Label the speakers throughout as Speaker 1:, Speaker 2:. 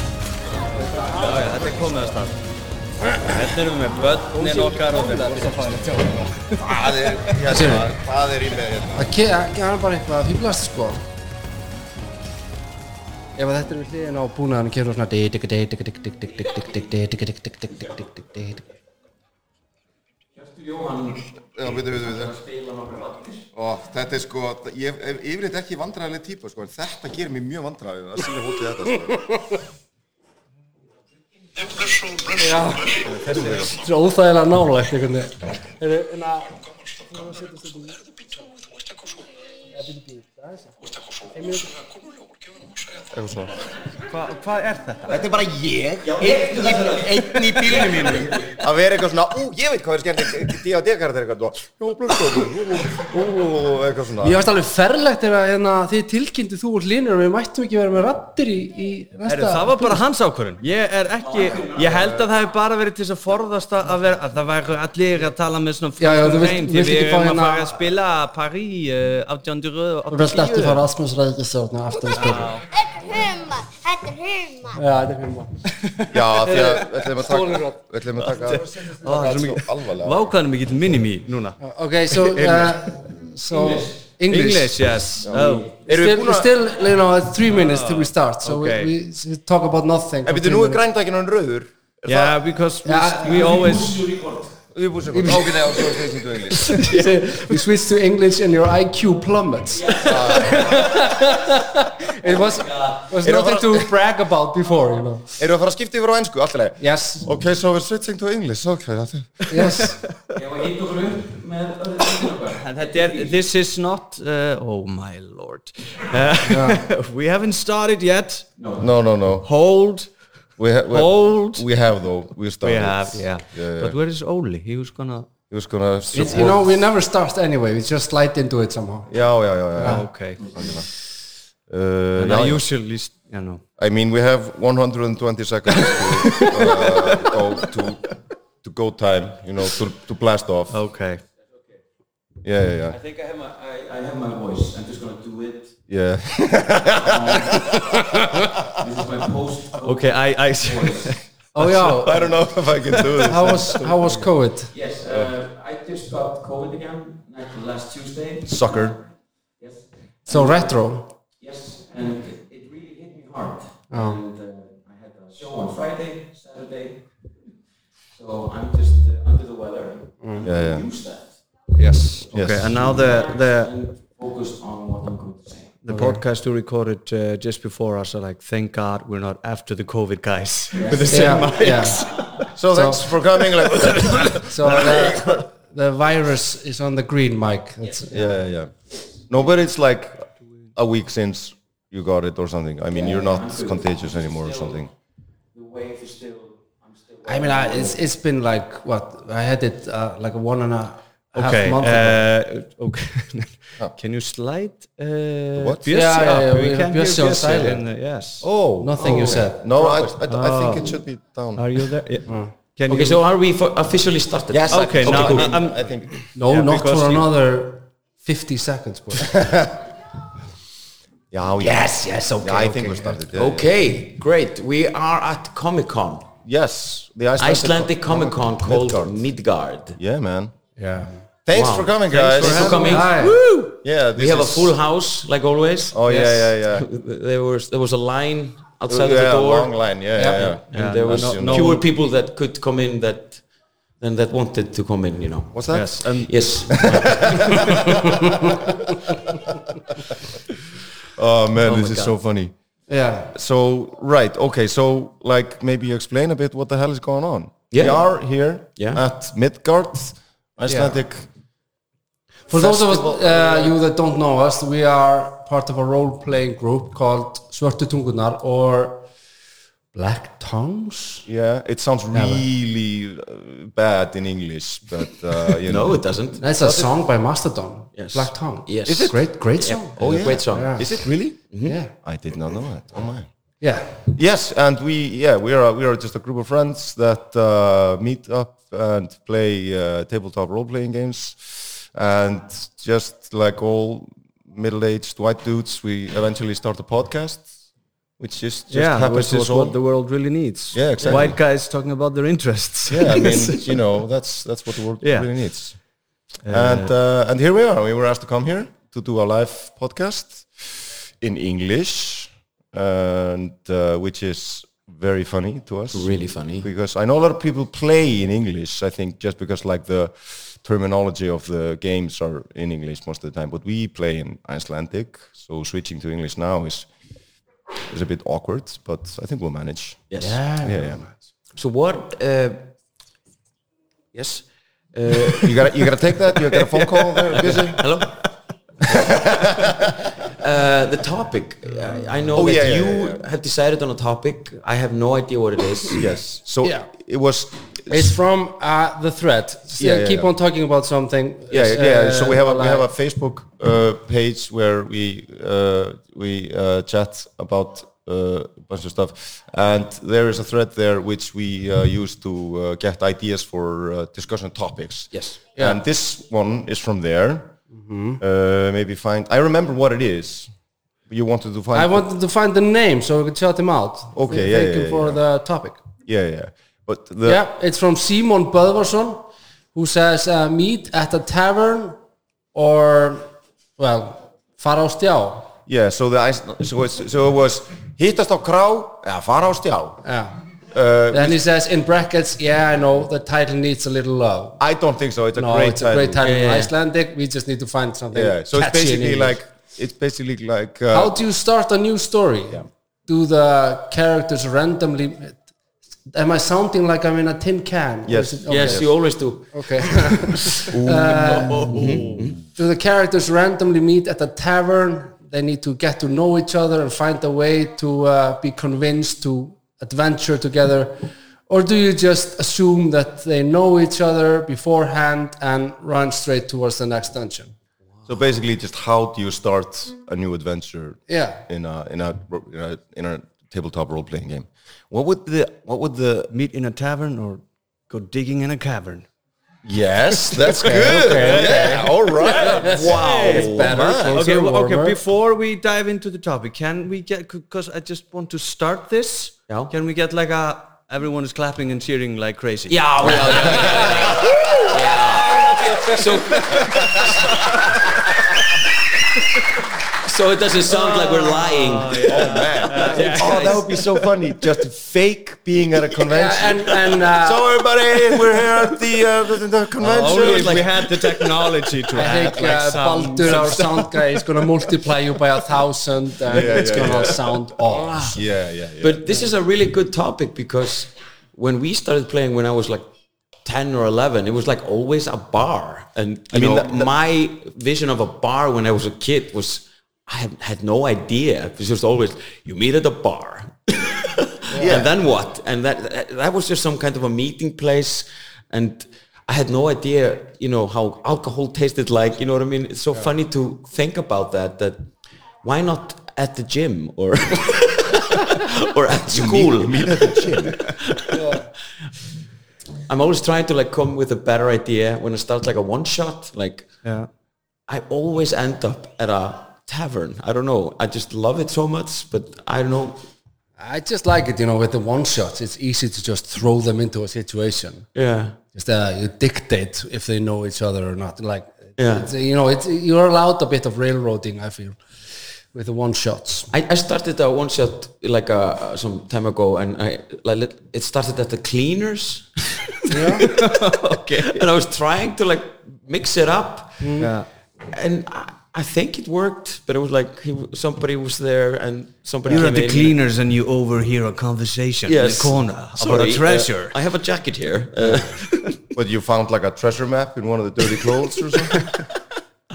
Speaker 1: Já, já, þetta er komið að stað. Þetta erum við með börnin okkar og við erum að
Speaker 2: Hvað er, hérna,
Speaker 3: Sérðu?
Speaker 2: hvað er í með hérna?
Speaker 3: Það ke- það er bara eitthvað að fýblast sko Ef að þetta er við hliðin á búnaðan kemur svona Þetta
Speaker 2: Já, veitu, veitu, veitu. Og þetta er sko, ég er yfirleitt ekki vandræðileg típa, sko, en þetta gerir mér mjög vandræðið, það sýnir hótið þetta, sko.
Speaker 3: er óþægilega nálægt einhvern veginn Heyrðu, En að
Speaker 2: Eitthvað svona.
Speaker 1: Hvað er þetta?
Speaker 2: Þetta er bara ég, einn í, einn í bílunum mínum, að vera eitthvað svona, ú, ég veit hvað er skemmt, D&D karakter eitthvað, og, jú, blöðstofu, ú, ú, ú, eitthvað
Speaker 3: Mér
Speaker 2: svona.
Speaker 3: varst alveg ferlegt ef að hérna, þið tilkynntu þú úr línur og við mættum ekki vera með rattir í, í
Speaker 1: Herru, það var bara hans ákvörðun. Ég er ekki, ég held að það hef bara verið til þess að forðast að að vera, að það væri allir að tala með svona
Speaker 3: Já, já, þú
Speaker 1: frökkum
Speaker 3: vilt-
Speaker 1: hreim
Speaker 3: vilt
Speaker 1: því
Speaker 3: ekki
Speaker 1: við
Speaker 3: fá
Speaker 1: erum að
Speaker 3: hérna-
Speaker 1: fara að spila Paris uh, 1880
Speaker 3: Þú vilt ekki fá Rasmus Rækistjórn aftur að spila
Speaker 4: Þetta er humar, þetta er humar.
Speaker 3: Já, þetta er
Speaker 2: Já,
Speaker 3: fyrir maður
Speaker 2: því að, við ætlum að
Speaker 3: Stolin
Speaker 2: taka,
Speaker 3: rödd.
Speaker 2: við ætlum að taka,
Speaker 1: það
Speaker 2: taka
Speaker 1: er svo
Speaker 2: allt
Speaker 1: mikið-
Speaker 2: svo alvarlega.
Speaker 1: Vákvæðanum ég getur minnum í núna.
Speaker 3: Ok, so, uh, so English,
Speaker 1: English, yes. Oh.
Speaker 2: Erum við
Speaker 3: Still,
Speaker 2: búin að-
Speaker 3: still, you know, it's three minutes till we start So
Speaker 1: Ah, okay.
Speaker 3: we, we, we talk about nothing
Speaker 2: En býttu, nú er grændakinn hann rauður.
Speaker 1: Yeah, because we,
Speaker 3: Já.
Speaker 1: we always,
Speaker 2: Þú er búin sem hvað? Ok, neða, svo er það sýndu englis.
Speaker 3: We switch to English and your IQ plummets
Speaker 1: Ah.
Speaker 3: It was, was
Speaker 2: Eru að
Speaker 3: nothing to brag about before, you know
Speaker 2: Eru að fara að skipta yfir á ennsku, alltaf leið?
Speaker 3: Yes,
Speaker 2: Ok, so we're switching to English, ok, that's it.
Speaker 3: yes
Speaker 1: and that there- this is not, uh, oh my lord, Uh, we haven't started yet,
Speaker 2: No, no, no.
Speaker 1: hold,
Speaker 2: We ha we
Speaker 1: Hold.
Speaker 2: We have though. We
Speaker 1: we
Speaker 2: started.
Speaker 1: have, yeah,
Speaker 2: yeah.
Speaker 1: but where is Oli, he was gonna,
Speaker 2: He was gonna support.
Speaker 3: It's, you know, we never start anyway We just slide into it somehow
Speaker 2: Já, já, já, já. já.
Speaker 1: okay,
Speaker 2: Uh,
Speaker 1: and
Speaker 2: já,
Speaker 1: I
Speaker 2: já.
Speaker 1: usually, s- you know,
Speaker 2: I mean, we have 120 seconds to uh, go to to go time. You know, to to blast off.
Speaker 1: okay,
Speaker 2: Yeah, yeah, yeah.
Speaker 5: I think I have my I, I have my voice. I'm just gonna do it.
Speaker 2: yeah.
Speaker 5: This is my post.
Speaker 1: okay, I, I,
Speaker 3: Oh yeah,
Speaker 2: I don't know if I can do this.
Speaker 3: how was, how was COVID?
Speaker 5: Yes, uh, I just got COVID again like last Tuesday.
Speaker 2: Sucker.
Speaker 5: Yes,
Speaker 3: So retro
Speaker 5: yes, and it, it really hit me hard. And uh, I had a show on Friday, Saturday, so I'm just uh, under the weather.
Speaker 2: Yeah, yeah.
Speaker 5: Use that
Speaker 1: yes, okay,
Speaker 2: Yes.
Speaker 1: and now the, the,
Speaker 5: and focus on what I'm going to say.
Speaker 1: the podcast you recorded uh, just before us are like, thank God we're not after the COVID guys, with the same
Speaker 3: Yeah, yeah
Speaker 2: So thanks for coming. Like,
Speaker 3: So the, the virus is on the green mic That's,
Speaker 2: yeah, yeah. No, but it's like a week since you got it or something. I mean, you're not contagious anymore or something.
Speaker 5: The wave is still. I'm still.
Speaker 3: I mean, I, it's it's been like what I had it uh, like one and a half
Speaker 1: Okay.
Speaker 3: month. ago.
Speaker 1: Uh, okay. Can you slide? Uh,
Speaker 2: Oh. What?
Speaker 1: Björsi
Speaker 3: Yeah, yeah,
Speaker 1: up?
Speaker 3: yeah,
Speaker 1: We
Speaker 3: we-
Speaker 1: can hear
Speaker 3: Björsi on
Speaker 1: Björsi
Speaker 3: silent.
Speaker 1: in the- yes.
Speaker 2: Oh,
Speaker 3: Nothing you said.
Speaker 2: No, I, I, I think it should be down.
Speaker 1: Are you there? Yeah. Can
Speaker 5: Okay,
Speaker 1: you?
Speaker 5: so are we officially started?
Speaker 2: Yes, I-
Speaker 1: Okay, now
Speaker 2: cool.
Speaker 1: I'm-
Speaker 2: I think.
Speaker 3: No,
Speaker 1: yeah,
Speaker 3: not
Speaker 1: because
Speaker 3: for
Speaker 1: you-
Speaker 3: another fifty seconds. But
Speaker 2: Yeah,
Speaker 5: Yes, yes, okay,
Speaker 2: Yeah, I
Speaker 5: okay,
Speaker 2: think we started. yeah,
Speaker 5: Okay, great. We are at Comic Con,
Speaker 2: yeah. Yes, the Icelandic,
Speaker 5: Icelandic Comic Con called
Speaker 2: Midgard.
Speaker 5: Midgard.
Speaker 2: Yeah, man.
Speaker 3: yeah,
Speaker 2: Thanks
Speaker 5: Wow.
Speaker 2: for coming, guys.
Speaker 5: Thanks for coming.
Speaker 3: Hi.
Speaker 5: Woo!
Speaker 2: Yeah,
Speaker 5: We
Speaker 2: this
Speaker 5: have a
Speaker 2: is-
Speaker 5: full house, like always.
Speaker 2: Oh, yeah, yeah, yeah.
Speaker 5: There was there was a line outside
Speaker 2: yeah,
Speaker 5: of the door,
Speaker 2: long line. Yeah, yeah, yeah.
Speaker 5: and there was
Speaker 2: no-
Speaker 5: fewer
Speaker 2: no
Speaker 1: one-
Speaker 5: people that could come in that than that wanted to come in. You know.
Speaker 2: What's that?
Speaker 1: Yes. And
Speaker 5: Yes.
Speaker 2: Oh man,
Speaker 5: Oh
Speaker 2: this
Speaker 5: my
Speaker 2: is
Speaker 5: God.
Speaker 2: Oh,
Speaker 5: Oh
Speaker 2: so funny.
Speaker 3: Yeah.
Speaker 2: So right, okay. So like maybe you explain a bit what the hell is going on. We
Speaker 6: Yeah.
Speaker 2: are here
Speaker 6: Yeah.
Speaker 2: at Midgard, Icelandic.
Speaker 3: For those of us,
Speaker 2: Festival.
Speaker 3: uh, you that don't know us, we are part of a role-playing group called Svörtu Tungunar or Black Tongues.
Speaker 2: Yeah, it sounds really uh, bad in English, but uh, you know.
Speaker 6: No, it doesn't.
Speaker 3: That's a song by Mastodon.
Speaker 6: Yes.
Speaker 3: Black Tongue.
Speaker 6: Yes. Is it?
Speaker 3: Great, great song.
Speaker 6: Oh, yeah. Great song.
Speaker 3: Yeah.
Speaker 2: Is it really?
Speaker 5: Mm-hmm.
Speaker 3: Yeah.
Speaker 2: I did not know that. Oh my.
Speaker 3: Yeah.
Speaker 2: Yes, and we yeah we are we are just a group of friends that uh, meet up and play uh, tabletop role playing games, and just like all middle aged white dudes, we eventually start a podcast, which is just
Speaker 1: yeah,
Speaker 2: happens
Speaker 1: which
Speaker 2: to us
Speaker 1: is
Speaker 2: all.
Speaker 1: what the world really needs.
Speaker 2: Yeah, exactly.
Speaker 1: White guys talking about their interests.
Speaker 2: yeah, I mean you know that's that's what the world
Speaker 1: Yeah.
Speaker 2: really needs, and uh, and here we are. We were asked to come here to do a live podcast in English, and uh, which is very funny to us.
Speaker 6: Really funny.
Speaker 2: because I know a lot of people play in English. I think just because like the terminology of the games are in English most of the time, but we play in Icelandic, so switching to English now is is a bit awkward, but I think we'll manage.
Speaker 6: Yes.
Speaker 2: Yeah, yeah.
Speaker 6: So what? Uh, yes. Uh,
Speaker 2: You gotta you gotta take that. You got a phone call there. Busy.
Speaker 6: hello. uh, the topic. I, I know
Speaker 2: Oh,
Speaker 6: that
Speaker 2: yeah, yeah,
Speaker 6: you
Speaker 2: yeah, yeah.
Speaker 6: have decided on a topic. I have no idea what it is.
Speaker 2: Yes. So
Speaker 3: Yeah.
Speaker 2: it was.
Speaker 3: It's from uh, the thread. So
Speaker 2: Yeah, yeah,
Speaker 3: keep
Speaker 2: yeah.
Speaker 3: on talking about something. uh,
Speaker 2: yeah, yeah, yeah. So we have a, we
Speaker 3: like-
Speaker 2: have a Facebook uh, page where we uh, we uh, chat about uh, a bunch of stuff, and there is a thread there which we uh, use to uh, get ideas for uh, discussion topics.
Speaker 6: Yes.
Speaker 2: and this one is from there.
Speaker 3: Mm-hmm.
Speaker 2: Uh, maybe find. I remember what it is. You wanted to find.
Speaker 3: I wanted to find the name so we could shout him out.
Speaker 2: Okay,
Speaker 3: Thank
Speaker 2: yeah,
Speaker 3: Thank
Speaker 2: yeah,
Speaker 3: you for
Speaker 2: yeah.
Speaker 3: the topic.
Speaker 2: Yeah, yeah. But the
Speaker 3: Yeah, it's from Simon Böðvarsson who says uh, meet at a tavern or, well, fara á stjá.
Speaker 2: yeah. So the ice. So it's, so it was. Hittast á krá eða fara á stjá.
Speaker 3: Yeah.
Speaker 2: Uh,
Speaker 3: then he says in brackets, yeah, I know the title needs a little love.
Speaker 2: I don't think so. It's a
Speaker 3: No,
Speaker 2: great
Speaker 3: it's a great title
Speaker 6: Yeah,
Speaker 3: in
Speaker 6: yeah.
Speaker 3: Icelandic. We just need to find something.
Speaker 2: yeah so it's
Speaker 3: catchy in
Speaker 2: basically
Speaker 3: English.
Speaker 2: like it's basically like
Speaker 3: how
Speaker 2: uh,
Speaker 3: do you start a new story? Do the characters randomly? Am I sounding like I'm in a tin can? Or
Speaker 2: Yes.
Speaker 3: is it-
Speaker 6: Yes, you always do.
Speaker 3: Okay. Uh, do the characters randomly meet at a tavern? They need to get to know each other and find a way to uh, be convinced to adventure together. Or do you just assume that they know each other beforehand and run straight towards the next dungeon?
Speaker 2: so basically just how do you start a new adventure
Speaker 3: Yeah.
Speaker 2: in a in a in a, in a tabletop role playing game what would the what would the
Speaker 1: Meet in a tavern or go digging in a cavern.
Speaker 2: yes that's good yeah all right wow Oh,
Speaker 1: Okay, well, okay. Before we dive into the topic, can we get? Because I just want to start this.
Speaker 6: Yeah.
Speaker 1: Can we get like a everyone is clapping and cheering like crazy?
Speaker 6: Yeah, yeah, yeah, yeah, Oh, yeah. Yeah. So, so it doesn't sound like we're lying.
Speaker 2: oh that would be so funny just fake being at a convention
Speaker 3: And, and uh,
Speaker 2: so everybody we're here at the, uh, the,
Speaker 3: Oh,
Speaker 2: the convention
Speaker 1: Only if Oh, we had the technology to
Speaker 3: I
Speaker 1: add
Speaker 3: think
Speaker 1: like
Speaker 3: uh,
Speaker 1: sound.
Speaker 3: Baldur, our sound guy, is going to multiply you by a thousand, and
Speaker 2: Yeah,
Speaker 3: it's
Speaker 2: yeah,
Speaker 3: going to
Speaker 2: yeah.
Speaker 3: sound odd.
Speaker 2: yeah yeah yeah
Speaker 6: Ah. But this is a really good topic because when we started playing when I was like 10 or 11, it was like always a bar. And you
Speaker 2: mean,
Speaker 6: know,
Speaker 2: that- that-
Speaker 6: my vision of a bar when I was a kid was I had, had no idea. It was just always you meet at a bar. And then what? And that- that that was just some kind of a meeting place and I had no idea, you know, how alcohol tasted like, you know what I mean? It's so funny to think about that that why not at the gym or or at school. I'm always trying to like come with a better idea when I start like a one shot. Like
Speaker 1: Yeah.
Speaker 6: I always end up at a tavern. I don't know. I just love it so much, but I don't know.
Speaker 3: I just like it, you know, with the one shots, it's easy to just throw them into a situation.
Speaker 6: Yeah.
Speaker 3: Just uh, you dictate if they know each other or not. Like,
Speaker 6: Yeah.
Speaker 3: it's, you know, it's, you're allowed a bit of railroading, I feel, with the one shots.
Speaker 6: I, I started a one shot like uh, some time ago, and I like let- it started at the cleaners.
Speaker 1: Mm.
Speaker 6: okay. And I was trying to like mix it up,
Speaker 1: Yeah.
Speaker 6: and I, I think it worked, but it was like he, w- somebody was there and somebody
Speaker 1: You're at
Speaker 6: came
Speaker 1: the
Speaker 6: in.
Speaker 1: cleaners and you overhear a conversation in the corner about
Speaker 6: Sorry,
Speaker 1: a
Speaker 6: uh,
Speaker 1: treasure.
Speaker 6: I have a jacket here. Uh,
Speaker 2: But you found like a treasure map in one of the dirty clothes or something.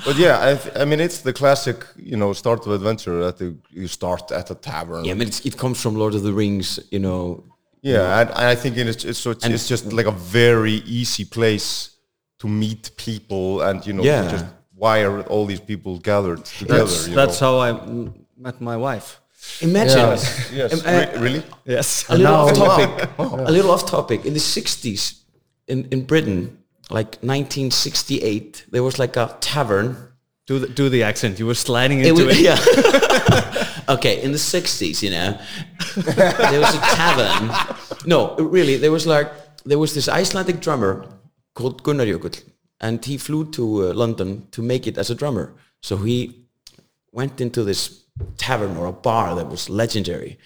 Speaker 2: But yeah, I, th- I mean it's the classic, you know, start of adventure that you, you start at a tavern.
Speaker 6: yeah, I mean, it's, it comes from Lord of the Rings, you know.
Speaker 2: Yeah, and, and I think it's it's, so it's,
Speaker 6: And-
Speaker 2: it's just like a very easy place to meet people and you know
Speaker 6: Yeah.
Speaker 2: just why are all these people gathered together?
Speaker 1: that's
Speaker 2: you
Speaker 1: that's
Speaker 2: know?
Speaker 1: how I mm, met my wife.
Speaker 6: Imagine.
Speaker 2: Yes, yes.
Speaker 6: Um, uh,
Speaker 2: Re- really?
Speaker 1: Yes.
Speaker 6: a little
Speaker 3: now-
Speaker 6: off topic. A little off topic. In the sixties, in, in Britain, like nineteen sixty eight, there was like a tavern.
Speaker 1: Do the, do the accent. You were sliding into
Speaker 6: It
Speaker 1: it.
Speaker 6: was, yeah. okay, in the sixties, you know, there was a tavern. No, really, there was like there was this Icelandic drummer called Gunnar Jökull, and he flew to uh, London to make it as a drummer. So he went into this tavern or a bar that was legendary,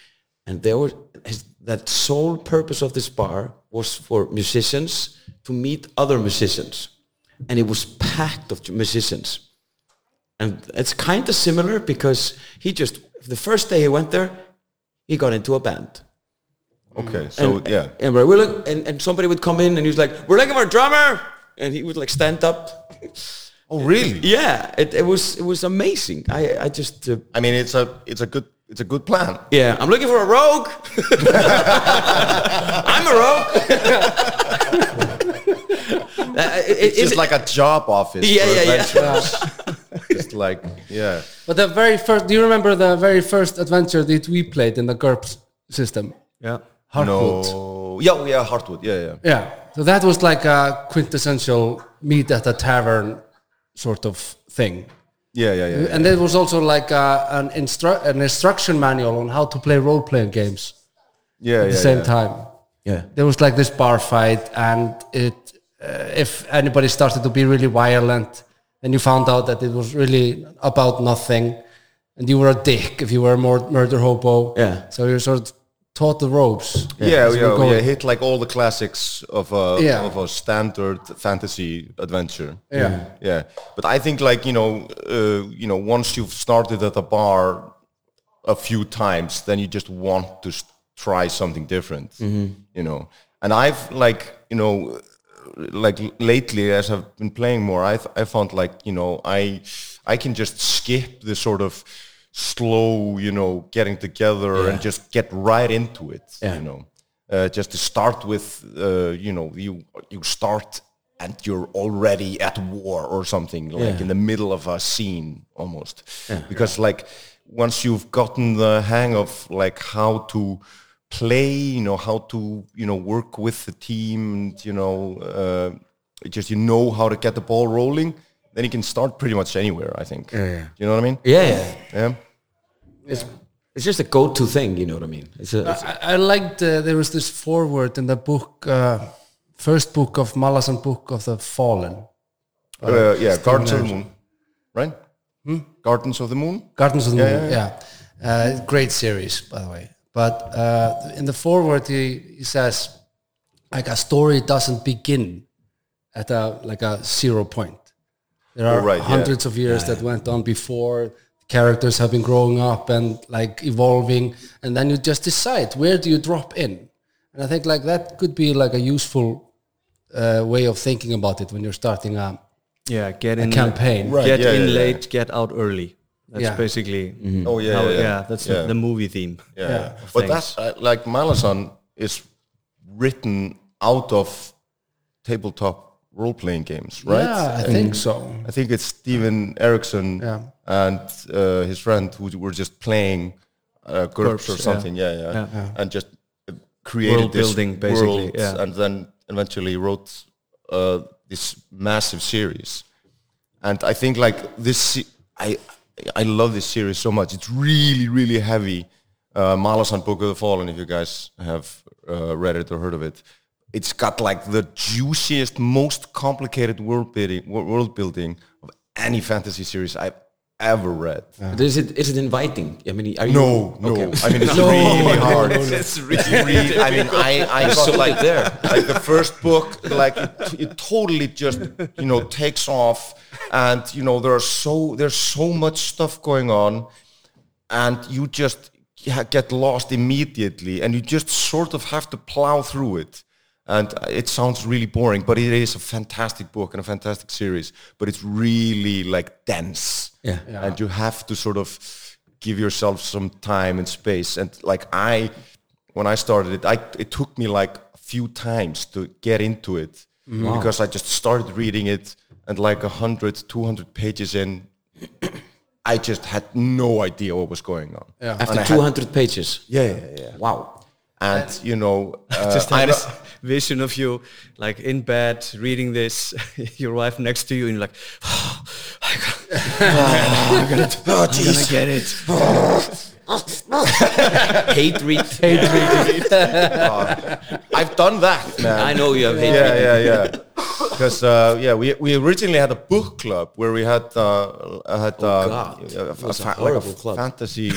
Speaker 6: and there was his, that sole purpose of this bar was for musicians to meet other musicians, and it was packed of musicians. And it's kind of similar because he just, the first day he went there, he got into a band.
Speaker 2: Okay, so
Speaker 6: and,
Speaker 2: yeah.
Speaker 6: And, we're, we're look, and, and somebody would come in and he was like, we're looking for a drummer. And he would like stand up.
Speaker 2: Oh really?
Speaker 6: Yeah, it, it was it was amazing. I, I just, uh,
Speaker 2: I mean it's a it's a good it's a good plan.
Speaker 6: yeah, I'm looking for a rogue. I'm a rogue. Uh, it-
Speaker 2: It's just
Speaker 6: it-
Speaker 2: like a job office.
Speaker 6: Yeah,
Speaker 2: for
Speaker 6: yeah, yeah.
Speaker 2: adventurers. Just like yeah.
Speaker 3: But the very first, do you remember the very first adventure that we played in the GURPS system?
Speaker 1: yeah.
Speaker 2: No. Yeah, oh, yeah, Hartwood. Yeah, yeah.
Speaker 3: Yeah. So that was like a quintessential meet at a tavern sort of thing.
Speaker 2: Yeah, yeah, yeah. yeah.
Speaker 3: And there was also like a, an, instru- an instruction manual on how to play role playing games
Speaker 2: yeah,
Speaker 3: at
Speaker 2: yeah,
Speaker 3: the same
Speaker 2: yeah.
Speaker 3: time.
Speaker 6: yeah.
Speaker 3: There was like this bar fight, and it uh, if anybody started to be really violent, and you found out that it was really about nothing, and you were a dick if you were a mur- murder hobo.
Speaker 6: Yeah.
Speaker 3: So you're sort of taught the ropes.
Speaker 2: Yeah,
Speaker 3: as
Speaker 2: yeah,
Speaker 3: we're
Speaker 2: yeah,
Speaker 3: going.
Speaker 2: hit like all the classics of a
Speaker 3: Yeah.
Speaker 2: of a standard fantasy adventure.
Speaker 3: Yeah.
Speaker 2: yeah. But I think like you know, uh, you know, once you've started at a bar a few times, then you just want to s- try something different. You know, and I've like you know, like lately as I've been playing more, I I found like you know I I can just skip the sort of slow you know getting together and just get right into it. You know, uh, just to start with uh, you know you you start and you're already at war or something like in the middle of a scene almost because like once you've gotten the hang of like how to play, you know, how to, you know, work with the team, and, you know, uh, it just you know how to get the ball rolling, then you can start pretty much anywhere, I think. You know what I mean?
Speaker 6: Yeah, yeah.
Speaker 2: Yeah.
Speaker 6: It's just a go-to thing, you know what I mean? It's a, it's-
Speaker 3: I, I liked uh, there was this foreword in the book, uh, first book of Malasan Book of the Fallen,
Speaker 2: Uh, yeah, Gardens of the Moon. Right?
Speaker 6: Hmm?
Speaker 2: Gardens of the Moon?
Speaker 3: Gardens of the Moon. Yeah, Uh, great series by the way. But uh, in the foreword, he, he says like a story doesn't begin at a like a zero point. There are
Speaker 2: Oh, right, yeah.
Speaker 3: hundreds of years that went on before. Characters have been growing up and like evolving, and then you just decide where do you drop in. And I think like that could be like a useful uh, way of thinking about it when you're starting a
Speaker 1: Yeah, get in
Speaker 3: campaign. Right,
Speaker 1: Get
Speaker 2: yeah,
Speaker 1: in
Speaker 2: yeah, yeah.
Speaker 1: late, get out early. That's
Speaker 3: Yeah.
Speaker 1: basically
Speaker 2: Oh yeah.
Speaker 1: how,
Speaker 2: yeah, yeah.
Speaker 1: that's
Speaker 2: Yeah.
Speaker 1: The, the movie theme.
Speaker 2: yeah.
Speaker 1: of
Speaker 2: But
Speaker 1: things.
Speaker 2: that's uh, like Malasan is written out of tabletop role playing games, right?
Speaker 3: Yeah, I think so.
Speaker 2: I think it's Steven Erickson
Speaker 3: Yeah.
Speaker 2: and uh, his friend who were just playing uh, GURPS, or something, yeah, yeah, and just uh, created
Speaker 1: World
Speaker 2: this
Speaker 1: building, basically,
Speaker 2: world
Speaker 1: yeah.
Speaker 2: and then eventually wrote uh, this massive series. And I think like this, se- I I love this series so much. It's really, really heavy. Uh, Malasan Book of the Fallen, if you guys have uh, read it or heard of it, it's got like the juiciest, most complicated world building, wo- world building of any fantasy series I've ever read.
Speaker 6: but is it is it inviting? I mean, are you
Speaker 2: No, no.
Speaker 6: Okay.
Speaker 2: I mean, it's really hard.
Speaker 6: It's really
Speaker 2: Really, I mean, I, I got
Speaker 6: sold
Speaker 2: like
Speaker 6: it there.
Speaker 2: like the first book, like it, it totally just you know takes off, and you know there are so there's so much stuff going on and you just ha- get lost immediately and you just sort of have to plow through it and it sounds really boring but it is a fantastic book and a fantastic series but it's really like dense
Speaker 6: Yeah.
Speaker 2: and you have to sort of give yourself some time and space and like i when i started it i it took me like a few times to get into it because i just started reading it and like 100 200 pages in I just had no idea what was going on. Yeah.
Speaker 6: After 200 pages.
Speaker 2: Yeah, yeah, yeah.
Speaker 6: Wow.
Speaker 2: And you know, uh,
Speaker 1: Just
Speaker 2: I
Speaker 1: have
Speaker 2: know-
Speaker 1: this vision of you, like in bed, reading this, your wife next to you, and you're like, I got- I'm gonna,
Speaker 2: Oh,
Speaker 1: I'm gonna get it.
Speaker 6: Hate read.
Speaker 2: I've done that. Man.
Speaker 6: I know you have hate read.
Speaker 2: Yeah, yeah, yeah. Because uh, yeah, we we originally had a book club where we had uh, had uh,
Speaker 6: Oh, God.
Speaker 2: a- a
Speaker 6: It was a
Speaker 2: fa- like a
Speaker 6: horrible club.
Speaker 2: fantasy.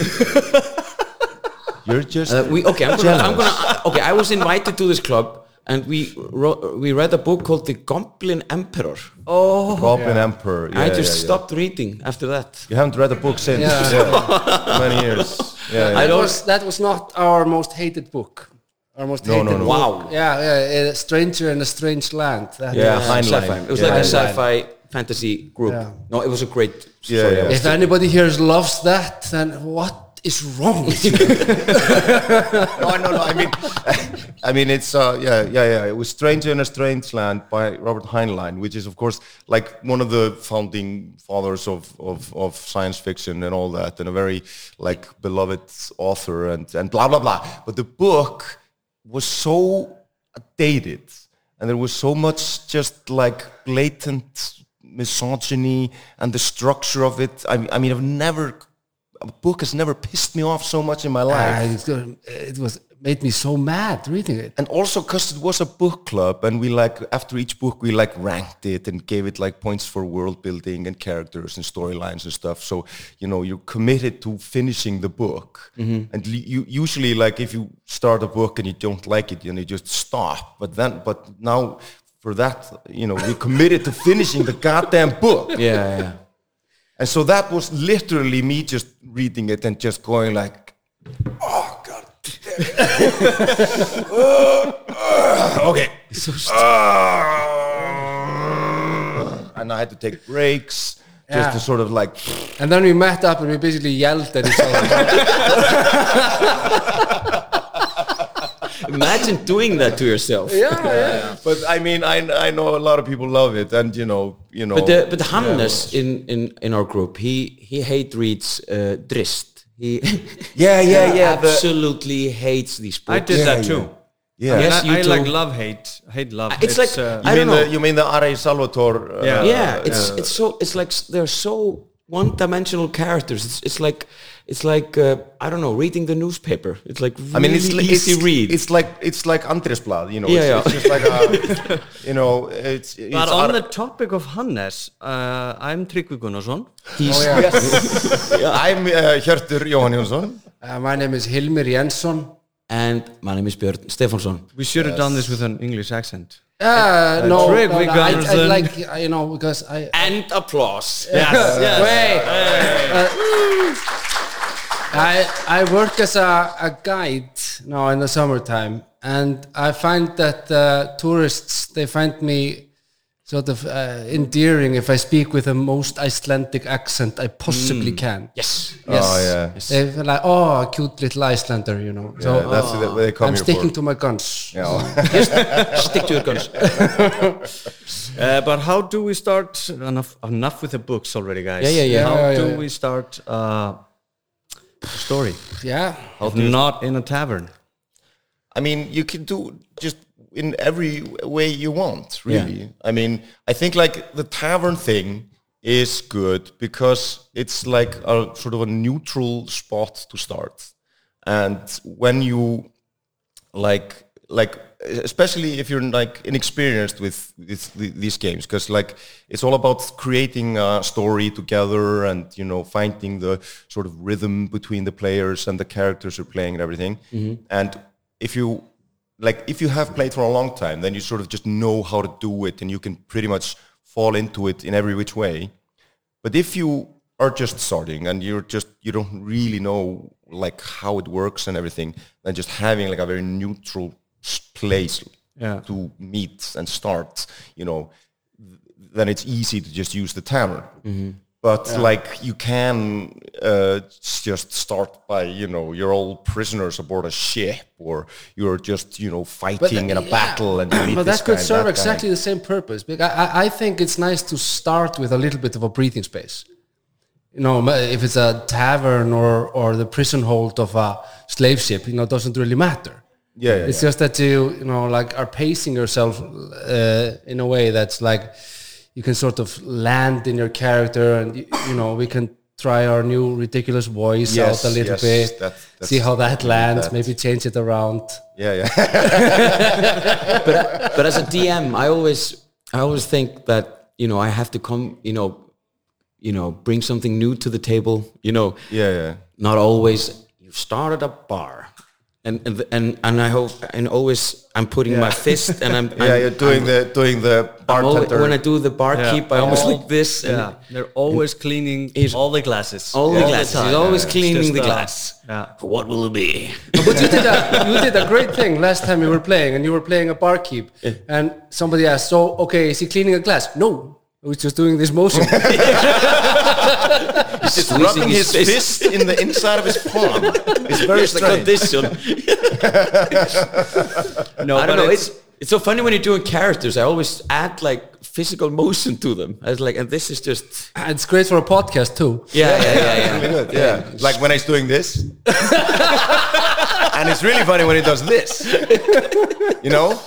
Speaker 2: You're just
Speaker 6: Uh, we okay. I'm gonna, I'm gonna. uh, Okay, I was invited to this club, and we wrote, we read a book called The Goblin Emperor.
Speaker 2: Goblin Emperor. Yeah,
Speaker 6: oh. I
Speaker 2: yeah,
Speaker 6: just
Speaker 2: yeah.
Speaker 6: stopped reading after that.
Speaker 2: You haven't read a book since
Speaker 3: Yeah.
Speaker 2: yeah. many years. Yeah, yeah.
Speaker 3: That was, that was not our most hated book. Our most
Speaker 2: No, no,
Speaker 3: hated
Speaker 2: no.
Speaker 3: book.
Speaker 6: Wow.
Speaker 3: Yeah, yeah. A stranger in a strange land. That
Speaker 2: Yeah,
Speaker 3: is-
Speaker 2: Heinlein.
Speaker 6: Sci-fi. It was like
Speaker 3: Yeah.
Speaker 6: a sci-fi fantasy group.
Speaker 3: Yeah.
Speaker 6: No, it was a great.
Speaker 2: Yeah,
Speaker 6: story.
Speaker 2: yeah.
Speaker 3: If anybody here loves that, then what is wrong with you?
Speaker 2: no, no, no. I mean, I mean, it's uh, yeah, yeah, yeah. It was "Stranger in a Strange Land" by Robert Heinlein, which is, of course, like one of the founding fathers of of, of science fiction and all that, and a very like beloved author, and and blah blah blah. But the book was so dated, and there was so much just like blatant misogyny and the structure of it. I, I mean, I've never. A book has never pissed me off so much in my life
Speaker 3: Ah, it's gonna- it was made me so mad reading it.
Speaker 2: and also because it was a book club and we like after each book we like ranked it and gave it like points for world building and characters and storylines and stuff so you know you're committed to finishing the book and l- you usually like if you start a book and you don't like it you know you just stop but then but now for that you know we committed to finishing the goddamn book
Speaker 6: yeah, yeah.
Speaker 2: and so that was literally me just reading it and just going like, oh god. okay. Ah. and I had to take breaks just
Speaker 3: Yeah.
Speaker 2: to sort of like
Speaker 3: And then we met up and we basically yelled at each other.
Speaker 6: Imagine doing that to yourself.
Speaker 3: yeah, yeah.
Speaker 2: but I mean I I know a lot of people love it and you know, you know
Speaker 6: But the, but Hannes in, in in our group, he he hate reads uh, Drist. He
Speaker 2: Yeah, yeah, yeah. the-
Speaker 6: absolutely hates these books.
Speaker 1: I did that too.
Speaker 2: yeah.
Speaker 6: Yes,
Speaker 1: I,
Speaker 6: you
Speaker 1: I like
Speaker 6: do.
Speaker 1: love hate, hate love. uh,
Speaker 6: It's like-
Speaker 2: You
Speaker 6: I
Speaker 2: mean
Speaker 6: don't
Speaker 2: the
Speaker 6: know.
Speaker 2: you mean the Ari Salvatore uh,
Speaker 1: Yeah.
Speaker 6: yeah, it's it's so it's like s- they're so one-dimensional characters. It's it's like it's like uh, I don't know, reading the newspaper. It's like really
Speaker 2: I mean, it's
Speaker 6: easy
Speaker 2: it's,
Speaker 6: read.
Speaker 2: It's like it's like Andresblad, you know.
Speaker 6: Yeah,
Speaker 2: it's, it's just like a, you know, it's. it's
Speaker 1: but on
Speaker 2: Ar-
Speaker 1: the topic of Hannes, uh, I'm Tryggvi Gunnarsson.
Speaker 6: He's-
Speaker 2: I'm uh, Hjörtur Jóhann Jónsson.
Speaker 3: Uh, my name is Hilmir Jensson.
Speaker 6: And my name is Björn Stefansson.
Speaker 1: We should have done this with an English accent.
Speaker 3: Uh, no,
Speaker 1: trick
Speaker 3: no,
Speaker 1: we
Speaker 3: no,
Speaker 1: got
Speaker 3: I,
Speaker 1: is
Speaker 3: I
Speaker 1: then-
Speaker 3: like I- you know because I
Speaker 6: And applause.
Speaker 1: Yes,
Speaker 3: wait. Uh, I I work as a, a guide now in the summertime, and I find that uh, tourists they find me sort of uh, endearing if I speak with the most Icelandic accent I possibly can.
Speaker 6: Yes.
Speaker 3: Yes.
Speaker 2: Oh, yeah.
Speaker 3: They feel like, oh, cute little Icelander, you know. So
Speaker 2: Yeah, that's what they come
Speaker 3: I'm
Speaker 2: here
Speaker 3: sticking
Speaker 2: for.
Speaker 3: to my guns.
Speaker 2: Yeah.
Speaker 6: Stick to your guns.
Speaker 1: Uh, but how do we start? Enough, enough with the books already, guys.
Speaker 6: Yeah, yeah, yeah.
Speaker 1: How
Speaker 3: Yeah, yeah,
Speaker 1: do
Speaker 3: yeah.
Speaker 1: we start uh, a story?
Speaker 3: Yeah.
Speaker 1: Of not in a tavern.
Speaker 2: I mean, you can do just in every way you want, really. I mean, I think like the tavern thing is good because it's like a sort of a neutral spot to start. And when you like like especially if you're like inexperienced with, with th- these games because like it's all about creating a story together and you know finding the sort of rhythm between the players and the characters you're playing and everything and if you like if you have played for a long time then you sort of just know how to do it and you can pretty much fall into it in every which way But if you are just starting and you're just you don't really know like how it works and everything, then just having like a very neutral s- place
Speaker 1: Yeah.
Speaker 2: to meet and start, you know, th- then it's easy to just use the timer. But like you can uh, s- just start by you know you're all prisoners aboard a ship or you're just you know fighting in a
Speaker 3: yeah.
Speaker 2: battle and you meet
Speaker 3: But
Speaker 2: this
Speaker 3: that could
Speaker 2: guy,
Speaker 3: serve
Speaker 2: that guy.
Speaker 3: exactly the same purpose. Because I, I- I think it's nice to start with a little bit of a breathing space. You know, ma- if it's a tavern or, or the prison hold of a slave ship, you know, it doesn't really matter.
Speaker 2: Yeah, yeah,
Speaker 3: it's
Speaker 2: yeah.
Speaker 3: just that you, you know, like are pacing yourself uh, in a way that's like you can sort of land in your character and, you, you know, we can try our new ridiculous voice
Speaker 2: Yes,
Speaker 3: out a little
Speaker 2: yes,
Speaker 3: bit,
Speaker 2: that- that's-
Speaker 3: see how that
Speaker 2: we need
Speaker 3: lands,
Speaker 2: that.
Speaker 3: maybe change it around.
Speaker 2: yeah yeah
Speaker 6: but as a DM, I always I always think that you know I have to come you know you know bring something new to the table. You know,
Speaker 2: yeah yeah.
Speaker 6: not always you start at a bar. And, and, and, and I hope and always I'm putting my fist and I'm
Speaker 2: yeah,
Speaker 6: I'm-
Speaker 2: you're doing
Speaker 6: I'm-
Speaker 2: the doing the
Speaker 6: I'm always-
Speaker 2: bartender.
Speaker 6: when I do the barkeep I almost like this and
Speaker 1: Yeah, they're always cleaning
Speaker 6: He's-
Speaker 1: all the glasses.
Speaker 6: all the glasses
Speaker 1: time.
Speaker 6: he's always
Speaker 1: It's
Speaker 6: cleaning
Speaker 1: just uh,
Speaker 6: the
Speaker 1: a-
Speaker 6: glass
Speaker 1: yeah.
Speaker 6: what will it be
Speaker 3: But you did a you did a great thing last time you were playing, and you were playing a barkeep, and somebody asked, "So okay, is he cleaning a glass?" No, I was just doing this motion.
Speaker 2: He's just
Speaker 6: Squeezing
Speaker 2: rubbing his
Speaker 6: his fist.
Speaker 2: fist in the inside of his palm. It's very
Speaker 6: It's the
Speaker 2: strange.
Speaker 6: condition
Speaker 1: No,
Speaker 6: I don't
Speaker 1: but
Speaker 6: know. It's, it's so funny when you're doing characters. I always add like physical motion to them. I was like, and this is just
Speaker 3: it's great for a podcast too.
Speaker 6: yeah, yeah, yeah, yeah.
Speaker 2: Good, yeah. Like when he's doing this. and it's really funny when he does this. You know?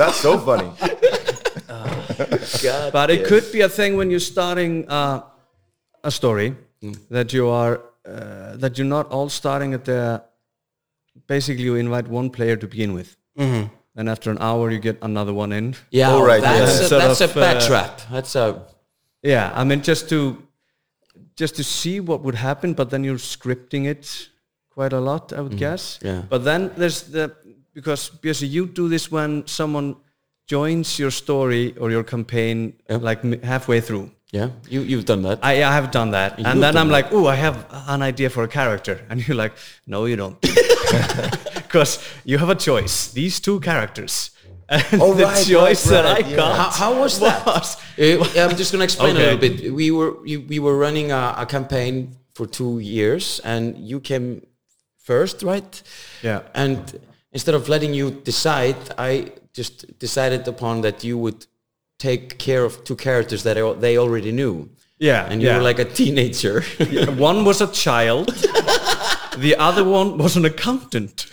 Speaker 2: That's so funny.
Speaker 1: But it could be a thing when you're starting uh, a story that you are uh, that you're not all starting at the. Basically, you invite one player to begin with, and after an hour, you get another one in.
Speaker 6: yeah
Speaker 2: All right,
Speaker 6: that's
Speaker 2: yeah.
Speaker 6: a,
Speaker 1: Sort
Speaker 6: that's
Speaker 1: of,
Speaker 6: a bad
Speaker 1: uh,
Speaker 6: trap. That's a
Speaker 1: Yeah, I mean just to just to see what would happen, but then you're scripting it quite a lot, I would guess.
Speaker 6: yeah.
Speaker 1: But then there's the because because you do this when someone joins your story or your campaign like m- halfway through.
Speaker 6: yeah. You you've done that.
Speaker 1: I, I have done that, and then
Speaker 6: done
Speaker 1: I'm like, oh, I have an idea for a character, and you're like, no, you don't, because you have a choice. These two characters, and
Speaker 2: Oh,
Speaker 1: the
Speaker 2: right, right,
Speaker 1: choice
Speaker 2: right,
Speaker 1: that I
Speaker 2: yeah.
Speaker 1: got.
Speaker 6: how, how was that?
Speaker 1: was-
Speaker 6: Uh, I'm just going to explain
Speaker 1: Okay.
Speaker 6: a little bit. We were you, we were running a, a campaign for two years, and you came first, right?
Speaker 1: Yeah.
Speaker 6: And instead of letting you decide, I just decided upon that you would take care of two characters that I, al- they already knew.
Speaker 1: Yeah,
Speaker 6: And you
Speaker 1: yeah.
Speaker 6: were like a teenager.
Speaker 1: One was a child. the other one was an accountant.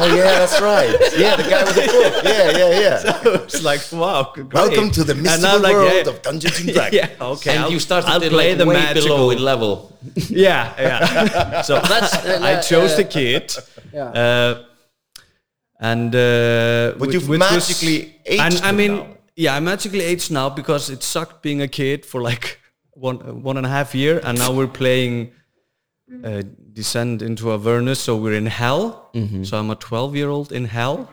Speaker 2: Oh yeah, that's right. Yeah, the guy with the book. Yeah, yeah, yeah.
Speaker 1: it's like, wow, great.
Speaker 2: Welcome to the
Speaker 1: And
Speaker 2: mystical
Speaker 1: I'm like,
Speaker 2: world
Speaker 1: yeah,
Speaker 2: of Dungeons and Dragons.
Speaker 1: Yeah, okay.
Speaker 6: and
Speaker 1: I'll-
Speaker 6: you started
Speaker 1: I'll
Speaker 6: it
Speaker 1: play
Speaker 6: like
Speaker 1: the
Speaker 6: way
Speaker 1: magical.
Speaker 6: below in level.
Speaker 1: Yeah, yeah. so that's uh, I chose the kid. Uh, and uh,
Speaker 2: But
Speaker 1: whi-
Speaker 2: you've
Speaker 1: which was-
Speaker 2: magically aged
Speaker 1: and, I
Speaker 2: it
Speaker 1: mean,
Speaker 2: now.
Speaker 1: yeah, I magically aged now because it sucked being a kid for like one one and a half year, and now we're playing uh, Descend into Avernus, so we're in hell.
Speaker 2: Mm-hmm.
Speaker 1: So I'm a 12 year old in hell.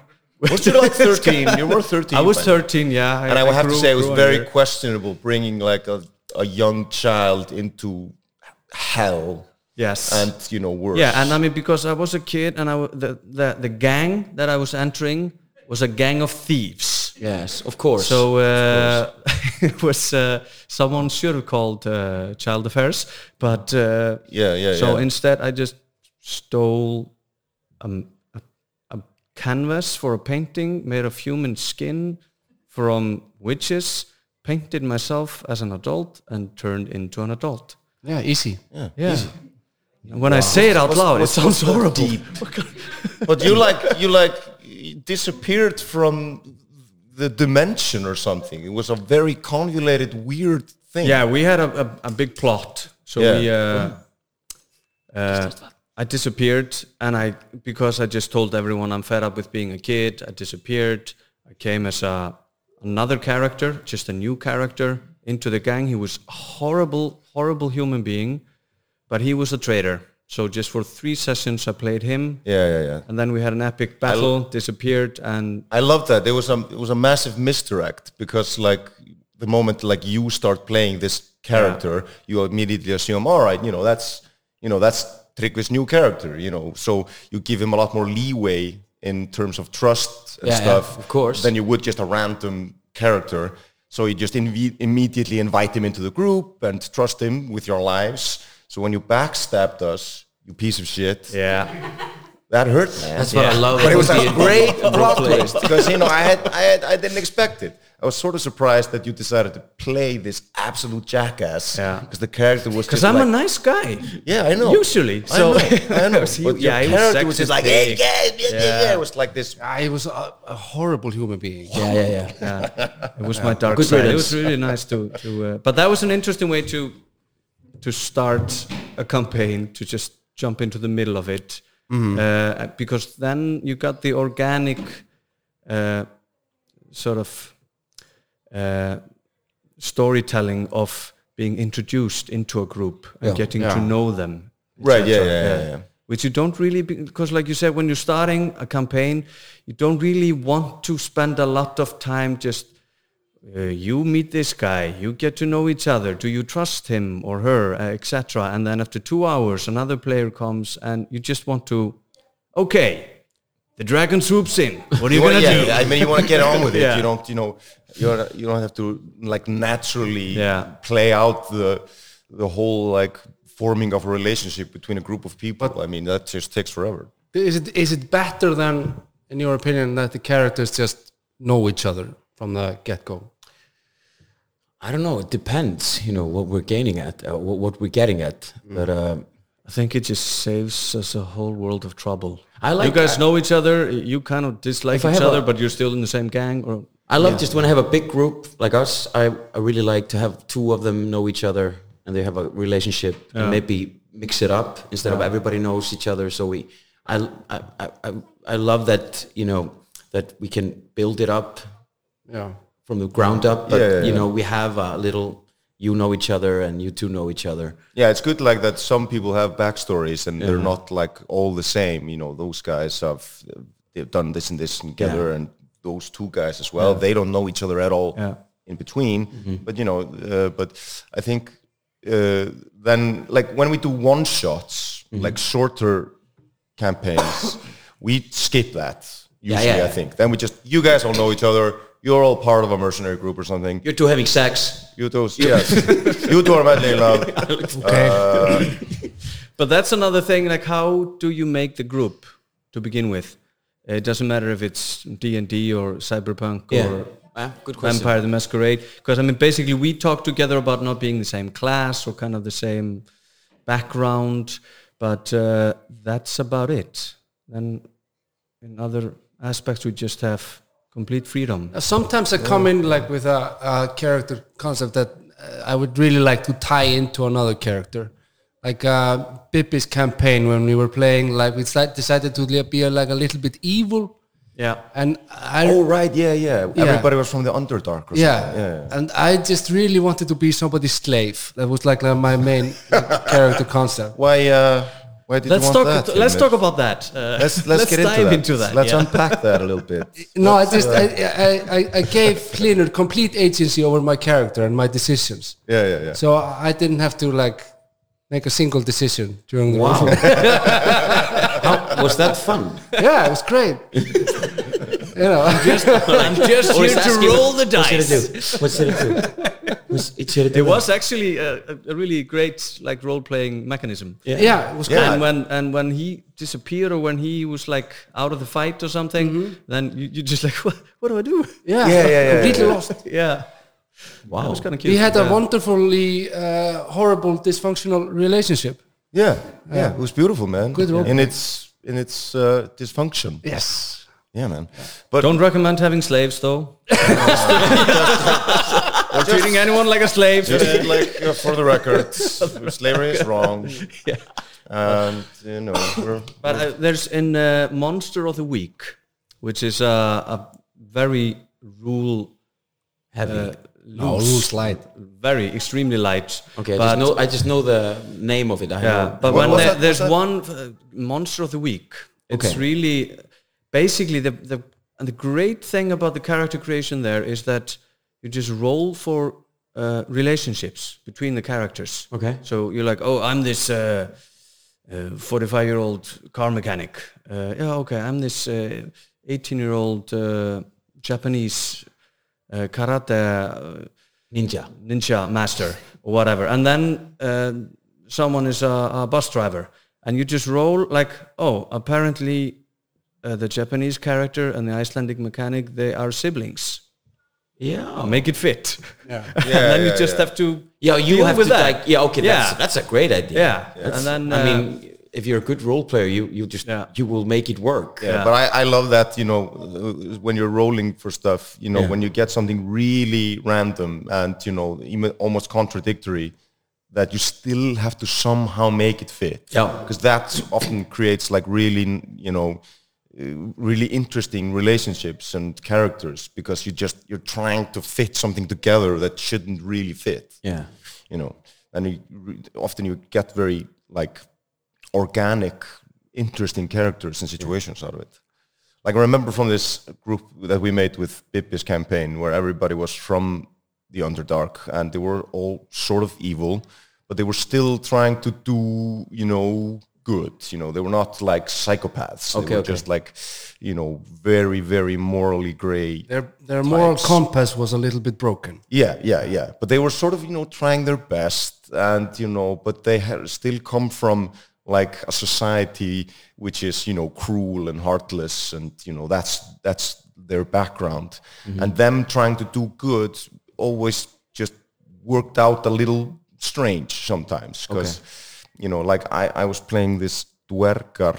Speaker 2: Weren't you like 13? You were 13.
Speaker 1: I was
Speaker 2: by now.
Speaker 1: 13, yeah.
Speaker 2: And I will have to
Speaker 1: grew-
Speaker 2: say it was
Speaker 1: grew a
Speaker 2: very
Speaker 1: year.
Speaker 2: questionable bringing like a, a young child into hell
Speaker 1: yes.
Speaker 2: and, you know, worse.
Speaker 1: Yeah, and I mean because I was a kid, and I w- the, the the gang that I was entering was a gang of thieves.
Speaker 6: Yes, of course.
Speaker 1: So uh, it was uh, someone should have called uh, child affairs, but uh,
Speaker 2: Yeah, yeah,
Speaker 1: So
Speaker 2: yeah.
Speaker 1: instead, I just stole um, a, a canvas for a painting made of human skin from witches, painted myself as an adult, and turned into an adult.
Speaker 3: Yeah, easy.
Speaker 1: Yeah. And When I say it out loud, it sounds horrible. Oh,
Speaker 2: But you like you like disappeared from the dimension or something. It was a very convoluted, weird thing.
Speaker 1: Yeah, we had a, a, a big plot. So
Speaker 2: Yeah.
Speaker 1: we, uh, uh, I disappeared, and I because I just told everyone I'm fed up with being a kid. I disappeared. I came as a another character, just a new character into the gang. He was a horrible, horrible human being, but he was a traitor. So just for three sessions, I played him,
Speaker 2: yeah, yeah, yeah.
Speaker 1: and then we had an epic battle. disappeared, and
Speaker 2: I love that. There was a it was a massive misdirect because like the moment like you start playing this character, you immediately assume, all right, you know, that's you know that's Tryggvi's new character, you know. So you give him a lot more leeway in terms of trust and
Speaker 6: Yeah, yeah,
Speaker 2: stuff,
Speaker 6: of course.
Speaker 2: than you would just a random character. So you just invi- immediately invite him into the group and trust him with your lives. So when you backstabbed us, you piece of shit,
Speaker 1: Yeah.
Speaker 2: that hurt, man.
Speaker 6: That's what I love.
Speaker 2: But it was
Speaker 6: about
Speaker 2: a great
Speaker 6: being-
Speaker 2: plot twist because you know I had, I had I didn't expect it. I was sort of surprised that you decided to play this absolute jackass.
Speaker 1: Yeah.
Speaker 2: Because the character was
Speaker 1: Because
Speaker 2: just
Speaker 1: I'm
Speaker 2: like,
Speaker 1: a nice guy.
Speaker 2: yeah, I know.
Speaker 1: Usually,
Speaker 2: I
Speaker 1: so-
Speaker 2: know, I know.
Speaker 1: He-
Speaker 2: but
Speaker 1: yeah,
Speaker 2: yeah,
Speaker 1: he
Speaker 2: your
Speaker 1: was
Speaker 2: character was
Speaker 1: sexist
Speaker 2: just like, hey,
Speaker 1: big.
Speaker 2: yeah, yeah, yeah,
Speaker 1: Yeah.
Speaker 2: yeah. It was like this.
Speaker 3: I was a, a horrible human being.
Speaker 6: Yeah, yeah, yeah.
Speaker 1: It was my dark
Speaker 6: Uh, Good
Speaker 1: side. It was
Speaker 6: riddance.
Speaker 1: really nice to, to uh, but that was an interesting way to to start a campaign to just jump into the middle of it
Speaker 6: Mm-hmm.
Speaker 1: uh, because then you got the organic uh, sort of uh, storytelling of being introduced into a group and getting to know them. et
Speaker 2: Right, yeah,
Speaker 1: cetera.
Speaker 2: yeah, yeah, yeah.
Speaker 1: Which you don't really, be- because like you said, when you're starting a campaign, you don't really want to spend a lot of time just uh, you meet this guy, you get to know each other, do you trust him or her, uh, etc. And then after two hours, another player comes and you just want to, okay, the dragon swoops in. What are you
Speaker 2: You wanna-
Speaker 1: going to
Speaker 2: yeah,
Speaker 1: do?
Speaker 2: I mean, you want to get on with it.
Speaker 1: Yeah.
Speaker 2: You don't, you know, you're, not- you don't have to like naturally
Speaker 1: Yeah.
Speaker 2: play out the the whole like forming of a relationship between a group of people. I mean, that just takes forever.
Speaker 3: Is it is it better than, in your opinion, that the characters just know each other from the get go?
Speaker 6: I don't know. It depends, you know, what we're gaining at, uh, what, what we're getting at.
Speaker 2: Mm.
Speaker 6: But uh,
Speaker 1: I think it just saves us a whole world of trouble.
Speaker 6: I like
Speaker 1: you guys
Speaker 6: that.
Speaker 1: know each other. You kind of dislike
Speaker 6: If I
Speaker 1: each
Speaker 6: have a-
Speaker 1: other, but you're still in the same gang. Or
Speaker 6: I love just when I have a big group like us. I, I really like to have two of them know each other and they have a relationship and maybe mix it up instead of everybody knows each other. So we, I, I, I- I, I love that you know that we can build it up
Speaker 3: Yeah.
Speaker 6: from the ground up. But
Speaker 2: Yeah, yeah,
Speaker 6: you
Speaker 2: yeah.
Speaker 6: know we have a little. You know each other and you two know each other.
Speaker 2: Yeah, it's good like that. Some people have backstories and they're not like all the same. You know, those guys have they've done this and this together, and those two guys as well. They don't know each other at all
Speaker 1: Yeah.
Speaker 2: in between.
Speaker 6: Mm-hmm.
Speaker 2: But you know, uh, but I think uh, then like when we do one shots,
Speaker 6: Mm-hmm.
Speaker 2: like shorter campaigns, we skip that usually.
Speaker 6: yeah,
Speaker 2: I
Speaker 6: yeah.
Speaker 2: think then we just you guys all know each other. You're all part of a mercenary group or something.
Speaker 6: You're two having sex.
Speaker 2: You two, yes. you two are madly in love.
Speaker 1: but that's another thing. Like, how do you make the group to begin with? It doesn't matter if it's D and D or cyberpunk or
Speaker 6: Ah, good question.
Speaker 1: Vampire the Masquerade. Because I mean, basically, we talk together about not being the same class or kind of the same background, but uh, that's about it. Then, in other aspects, we just have complete freedom.
Speaker 3: Uh, Sometimes I come in like with a, a character concept that uh, I would really like to tie into another character, like uh, Pippi's campaign when we were playing. Like we deci- decided to li- be uh, like a little bit evil,
Speaker 1: Yeah.
Speaker 3: and I
Speaker 2: Oh right, yeah, yeah.
Speaker 3: Yeah.
Speaker 2: Everybody was from the Underdark. Or
Speaker 3: yeah.
Speaker 2: something. yeah.
Speaker 3: and I just really wanted to be somebody's slave. That was like, like, my main like, character concept.
Speaker 2: Why? Uh, why did
Speaker 1: Let's
Speaker 2: you
Speaker 1: talk.
Speaker 2: want that?
Speaker 1: let's
Speaker 2: Hilmir?
Speaker 1: talk about that. Uh,
Speaker 2: Let's let's, get
Speaker 1: dive into that.
Speaker 2: Let's
Speaker 1: yeah.
Speaker 2: unpack that a little bit.
Speaker 3: No, I just I, I, I, I gave Cleaner complete agency over my character and my decisions.
Speaker 2: Yeah, yeah, yeah.
Speaker 3: So I didn't have to like make a single decision during the
Speaker 6: Wow. How, was that fun?
Speaker 3: yeah, it was great. you know,
Speaker 1: I'm just
Speaker 6: Or
Speaker 1: here
Speaker 6: is
Speaker 1: to
Speaker 6: asking,
Speaker 1: roll the
Speaker 6: What should I do?
Speaker 1: dice.
Speaker 6: What should I do? What's- it should I do?
Speaker 1: It was actually a, a- a really great like role playing mechanism.
Speaker 3: yeah. it was
Speaker 2: Yeah.
Speaker 1: And when and when he disappeared or when he was like out of the fight or something, then you, you just like what, what do I do?
Speaker 3: great. Yeah,
Speaker 2: Yeah, yeah, yeah,
Speaker 3: completely
Speaker 2: yeah.
Speaker 3: lost.
Speaker 1: yeah,
Speaker 6: wow.
Speaker 1: that was kind of cute.
Speaker 3: We had a
Speaker 1: Yeah.
Speaker 3: wonderfully uh, horrible, dysfunctional relationship.
Speaker 2: yeah, yeah, It was beautiful, man.
Speaker 3: Good role.
Speaker 2: In its in its uh, dysfunction. Yeah,
Speaker 3: Yes.
Speaker 2: man. But
Speaker 1: Don't recommend having slaves though. or treating anyone like a slave.
Speaker 2: just like uh, for the record, slavery is wrong. And you know, we're,
Speaker 1: But uh, there's in uh, Monster of the Week, which is a, a very rule uh,
Speaker 6: heavy.
Speaker 1: Oh,
Speaker 3: No, rules light.
Speaker 1: very extremely light.
Speaker 6: okay, I
Speaker 1: but
Speaker 6: just know. I just know the name of it. I
Speaker 1: yeah,
Speaker 6: know.
Speaker 1: but
Speaker 2: What
Speaker 1: when
Speaker 2: was
Speaker 1: there-
Speaker 2: that-
Speaker 1: there's
Speaker 2: was that-
Speaker 1: one uh, monster of the week, it's
Speaker 6: Okay.
Speaker 1: really basically the the and the great thing about the character creation there is that you just roll for uh, relationships between the characters.
Speaker 6: Okay.
Speaker 1: So you're like, oh, I'm this uh, uh, 45 year old car mechanic. Uh, yeah, okay. I'm this uh, 18 year old uh, Japanese uh, karate uh,
Speaker 6: Ninja.
Speaker 1: ninja master or whatever and then uh, someone is a, a bus driver and you just roll like oh apparently uh, the japanese character and the icelandic mechanic they are siblings
Speaker 6: Yeah.
Speaker 1: make it fit and
Speaker 2: Yeah,
Speaker 1: then
Speaker 2: yeah,
Speaker 1: you just
Speaker 2: yeah.
Speaker 1: have to
Speaker 6: Yeah, you
Speaker 1: deal
Speaker 6: have
Speaker 1: with
Speaker 6: to
Speaker 1: that.
Speaker 6: like yeah, okay, that's
Speaker 1: Yeah.
Speaker 6: that's a great idea.
Speaker 1: yeah, and then
Speaker 6: I
Speaker 1: uh,
Speaker 6: mean, if you're a good role player, you you just
Speaker 1: Yeah.
Speaker 6: you will make it work.
Speaker 2: Yeah, but I, I love that you know uh, when you're rolling for stuff you know
Speaker 6: Yeah.
Speaker 2: when you get something really random and you know even almost contradictory that you still have to somehow make it fit
Speaker 6: Yeah.
Speaker 2: because that often creates like really you know uh, really interesting relationships and characters because you just you're trying to fit something together that shouldn't really fit
Speaker 6: Yeah.
Speaker 2: you know and you re- often you get very like organic interesting characters and situations out of it like i remember from this group that we made with Bippi's campaign where everybody was from the underdark and they were all sort of evil but they were still trying to do you know good you know they were not like psychopaths
Speaker 6: Okay,
Speaker 2: they were
Speaker 6: okay.
Speaker 2: just like you know very very morally gray
Speaker 3: Their, their moral compass was a little bit broken.
Speaker 2: yeah, yeah, yeah. But they were sort of, you know, trying their best, and you know, but they ha- still come from like a society which is, you know, cruel and heartless, and you know, that's that's their background, and them trying to do good always just worked out a little strange sometimes because, you know, like I I was playing this Dwergar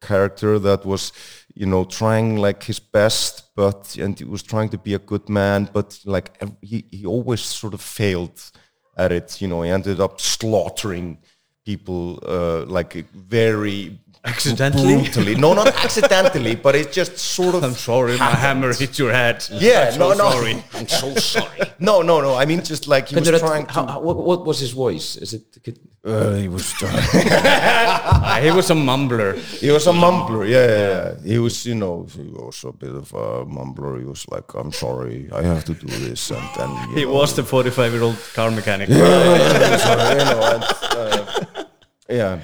Speaker 2: character that was you know trying like his best but and he was trying to be a good man but like ev- he, he always sort of failed at it you know he ended up slaughtering people uh, like very
Speaker 1: Accidentally?
Speaker 2: brutally no not accidentally but it just sort of
Speaker 1: i'm sorry my hammer hit your head
Speaker 2: yeah
Speaker 1: I'm
Speaker 2: no
Speaker 1: so
Speaker 2: no
Speaker 1: sorry.
Speaker 2: i'm so sorry no no no i mean just like he
Speaker 6: Can
Speaker 2: was
Speaker 6: you not-
Speaker 2: trying
Speaker 6: how-
Speaker 2: to
Speaker 6: how- what, what was his voice? Is it? Could,
Speaker 2: Uh,
Speaker 1: he was he was a mumbler
Speaker 2: He was a mumbler, yeah, yeah, yeah. He was, you know, he was a bit of a mumbler. He was like, "I'm sorry, I have to do this," and then you
Speaker 1: he
Speaker 2: know,
Speaker 1: was the 45 year old car mechanic
Speaker 2: I'm sorry, you know, and, uh, yeah,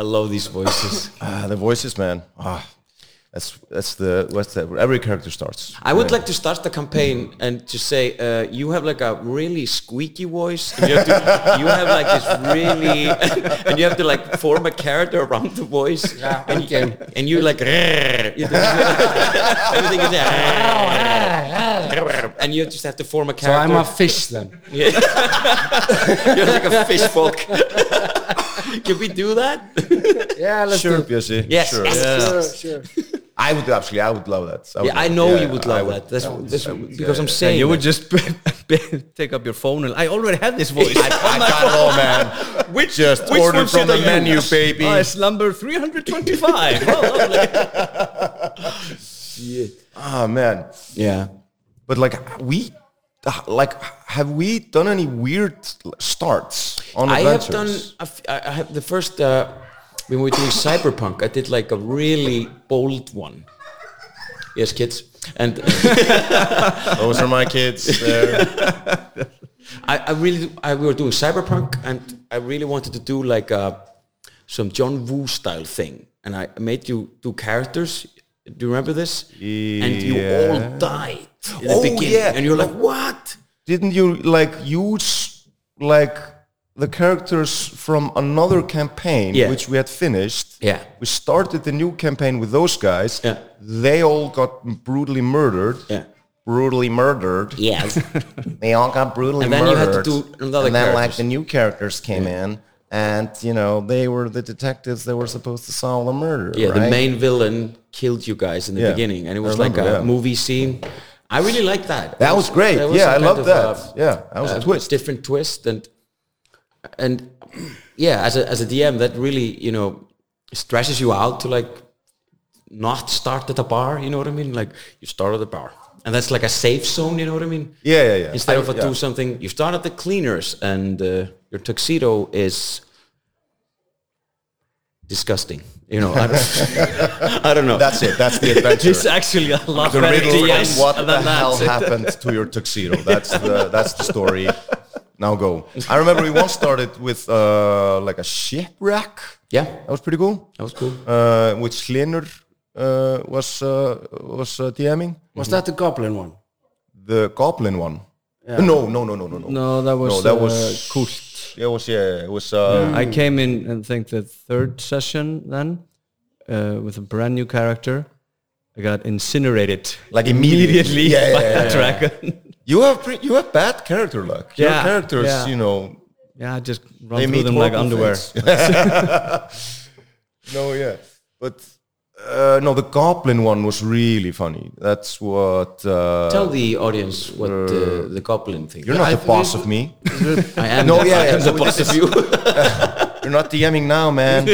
Speaker 6: I love these voices.
Speaker 2: Ah, the voices, man. Ah, that's that's the what's that? Every character starts.
Speaker 6: I would like to start the campaign and to say uh, you have like a really squeaky voice. And you, have to, you have like this really, and you have to like form a character around the voice.
Speaker 3: Yeah,
Speaker 6: and,
Speaker 3: okay.
Speaker 6: you, and you like you do- everything is and you just have to form a
Speaker 3: So I'm
Speaker 6: character.
Speaker 3: a fish then.
Speaker 6: You're like a fish folk. Can we do that?
Speaker 3: Yeah, let's
Speaker 2: Sure,
Speaker 3: do it.
Speaker 2: Bjössi.
Speaker 6: Yes,
Speaker 2: sure.
Speaker 6: yes.
Speaker 3: Sure, sure.
Speaker 2: I would actually, I would love that.
Speaker 6: Yeah, I
Speaker 2: love-
Speaker 6: know
Speaker 2: yeah,
Speaker 6: you would
Speaker 2: I
Speaker 6: love that. That's,
Speaker 2: I would-
Speaker 6: that's
Speaker 2: I would-
Speaker 6: because
Speaker 2: yeah,
Speaker 6: I'm
Speaker 2: yeah.
Speaker 6: saying
Speaker 1: you would just take up your phone and i already have this voice
Speaker 2: I, I got it all, man.
Speaker 6: Oh Which-
Speaker 2: Just
Speaker 6: which
Speaker 2: order
Speaker 6: one
Speaker 2: from
Speaker 6: should
Speaker 2: the
Speaker 6: I
Speaker 2: menu,
Speaker 6: use?
Speaker 2: baby.
Speaker 1: Oh, it's number 325. Oh, lovely.
Speaker 2: Ah, man.
Speaker 6: yeah.
Speaker 2: But like we, like have we done any weird starts on
Speaker 6: I have
Speaker 2: adventures?
Speaker 6: done. a f- I I have the first uh, when we were doing cyberpunk. I did like a really bold one. Yes, kids, and
Speaker 2: Those are my kids. There.
Speaker 6: I, I really I, we were doing cyberpunk, and I really wanted to do like a, some John Woo style thing, and I made you do characters. Do you remember this? And you all died in the
Speaker 2: Oh,
Speaker 6: beginning,
Speaker 2: yeah.
Speaker 6: and you're like, what?
Speaker 2: Didn't you like use like the characters from another campaign
Speaker 6: Yeah.
Speaker 2: which we had finished?
Speaker 6: Yeah.
Speaker 2: We started the new campaign with those guys.
Speaker 6: Yeah.
Speaker 2: They all got brutally murdered.
Speaker 6: Yeah.
Speaker 2: Brutally murdered.
Speaker 6: Yeah,
Speaker 2: They all got brutally
Speaker 6: And then you had to
Speaker 2: murdered.
Speaker 6: do another
Speaker 2: and then like
Speaker 6: characters.
Speaker 2: the new characters came in. And you know they were the detectives that were supposed to solve the murder.
Speaker 6: yeah. The
Speaker 2: right?
Speaker 6: main villain killed you guys in the
Speaker 2: Yeah.
Speaker 6: beginning, and it
Speaker 2: I
Speaker 6: was like a
Speaker 2: remember, yeah.
Speaker 6: movie scene. I really liked that.
Speaker 2: That
Speaker 6: It
Speaker 2: was great.
Speaker 6: that
Speaker 2: Yeah,
Speaker 6: a
Speaker 2: I
Speaker 6: kind
Speaker 2: loved
Speaker 6: of uh,
Speaker 2: that.
Speaker 6: a-
Speaker 2: Yeah, that was a twist.
Speaker 6: different twist, and and yeah, as a as a DM, that really you know stresses you out to like not start at a bar. You know what I mean? Like you start at the bar, and that's like a safe zone. You know what I mean?
Speaker 2: Yeah, yeah, yeah.
Speaker 6: Instead
Speaker 2: I-
Speaker 6: of a
Speaker 2: yeah.
Speaker 6: do something, you start at the cleaners, and uh, your tuxedo is disgusting. You know, I don't, I don't know.
Speaker 2: That's it. That's the adventure.
Speaker 1: It's actually a lot
Speaker 2: the
Speaker 1: better
Speaker 2: riddle
Speaker 1: yes,
Speaker 2: is what
Speaker 1: than
Speaker 2: the hell
Speaker 1: that.
Speaker 2: happened to your tuxedo. That's the that's the story. Now go. I remember we once started with uh, like a shipwreck.
Speaker 6: Yeah,
Speaker 2: That was pretty cool.
Speaker 6: that was cool.
Speaker 2: Uh, which Hlynur uh, was uh, was uh, DMing
Speaker 3: Was that the goblin one?
Speaker 2: the goblin one. No, no, no, no, no, no.
Speaker 1: No, that was,
Speaker 2: No, that
Speaker 1: uh,
Speaker 2: was-
Speaker 1: cool.
Speaker 2: It was yeah. It was uh,
Speaker 1: I came in, I think, the third session then uh, with a brand new character. I got incinerated
Speaker 2: like immediately. Yeah, yeah,
Speaker 1: by
Speaker 2: yeah,
Speaker 1: a
Speaker 2: yeah.
Speaker 1: dragon.
Speaker 2: You have pre- you have bad character luck. Your
Speaker 1: Yeah,
Speaker 2: characters,
Speaker 1: yeah.
Speaker 2: you know,
Speaker 1: yeah, I just run
Speaker 2: They
Speaker 1: through
Speaker 2: meet
Speaker 1: them like
Speaker 2: horrible
Speaker 1: underwear.
Speaker 2: No, yeah, but uh, no, the goblin one was really funny. That's what uh,
Speaker 6: Tell the audience what uh, the goblin thing.
Speaker 2: you're not
Speaker 3: I-
Speaker 2: the boss of me.
Speaker 6: I am.
Speaker 2: No, yeah,
Speaker 6: I
Speaker 2: yeah,
Speaker 6: am the
Speaker 2: we
Speaker 6: boss of you.
Speaker 2: you're not DMing now, man.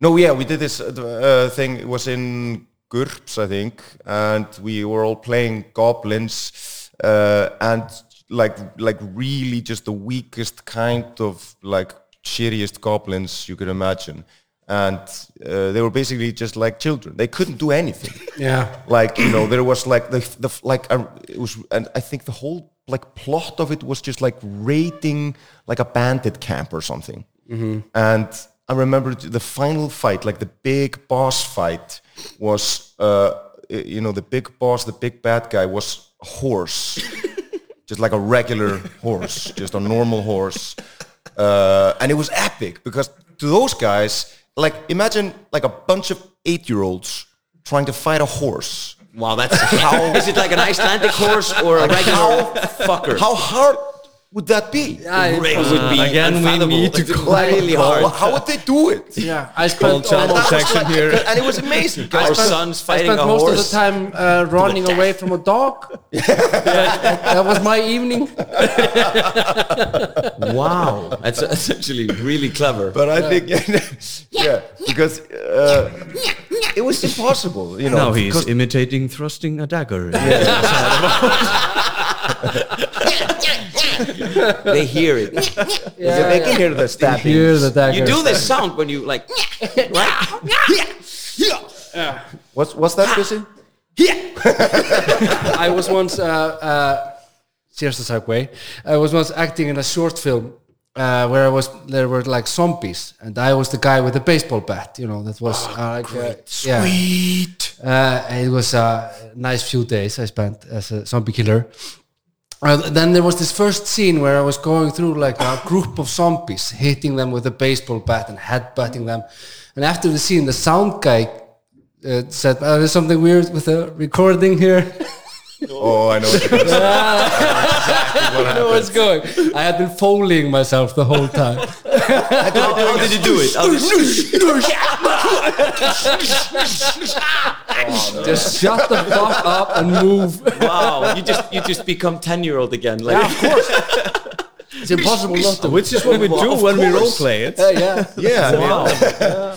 Speaker 2: no, yeah, we did this uh, the, uh, thing. It was in GURPS, I think, and we were all playing goblins uh, and like like really just the weakest kind of like shittiest goblins you could imagine. And uh, they were basically just like children. They couldn't do anything.
Speaker 3: Yeah.
Speaker 2: like you know there was like the, the like um, it was and i think the whole like plot of it was just like raiding like a bandit camp or something and i remember the final fight like the big boss fight was uh you know the big boss the big bad guy was a horse just like a regular horse just a normal horse uh, and it was epic because to those guys like imagine like a bunch of eight year olds trying to fight a horse
Speaker 6: wow, that's how. Is it like an Icelandic horse or a regular fucker?
Speaker 2: How hard would that be?
Speaker 3: I,
Speaker 6: It would be
Speaker 1: Ah, Again, we
Speaker 6: unfathomable.
Speaker 1: need to
Speaker 6: It's
Speaker 1: go-
Speaker 6: really
Speaker 2: How,
Speaker 6: hard.
Speaker 2: how would they do it?
Speaker 3: yeah. I spent,
Speaker 1: child
Speaker 3: all,
Speaker 1: sex.
Speaker 3: I
Speaker 1: Section here.
Speaker 2: and it was amazing.
Speaker 6: Our
Speaker 2: guys.
Speaker 6: sons fighting
Speaker 3: spent
Speaker 6: a
Speaker 3: most
Speaker 6: horse.
Speaker 3: of the time uh, running away from a dog. that, that was my evening.
Speaker 6: Wow, that's, that's actually really clever.
Speaker 2: But I think, yeah, because uh, it was impossible. You know,
Speaker 1: Now he's
Speaker 2: because-
Speaker 1: imitating thrusting a dagger.
Speaker 6: they hear it.
Speaker 2: they can hear the stabbing.
Speaker 3: Here's the dagger.
Speaker 6: You do this sound when you like, right?
Speaker 2: What's what's that, Chrissy?
Speaker 3: I was once, uh, uh, here's the segue. I was once acting in a short film uh, where I was there were like zombies, and I was the guy with the baseball bat. You know that was uh, like, uh, yeah.
Speaker 2: Sweet.
Speaker 3: Uh, it was a nice few days I spent as a zombie killer. Uh, then there was this first scene where I was going through like a group of zombies, hitting them with a baseball bat and headbutting them. And after the scene, the sound guy uh, said, oh, "There's something weird with the recording here."
Speaker 2: Oh, I know. what you're gonna
Speaker 3: I know what's going. I had been foleying myself the whole time.
Speaker 6: How, how did you do it? How did-
Speaker 3: Just shut the fuck up and move.
Speaker 6: wow, you just you just become ten year old again. Like
Speaker 3: It's impossible not to.
Speaker 1: Which is what we do when we roleplay it.
Speaker 3: Yeah, yeah.
Speaker 2: say. yeah.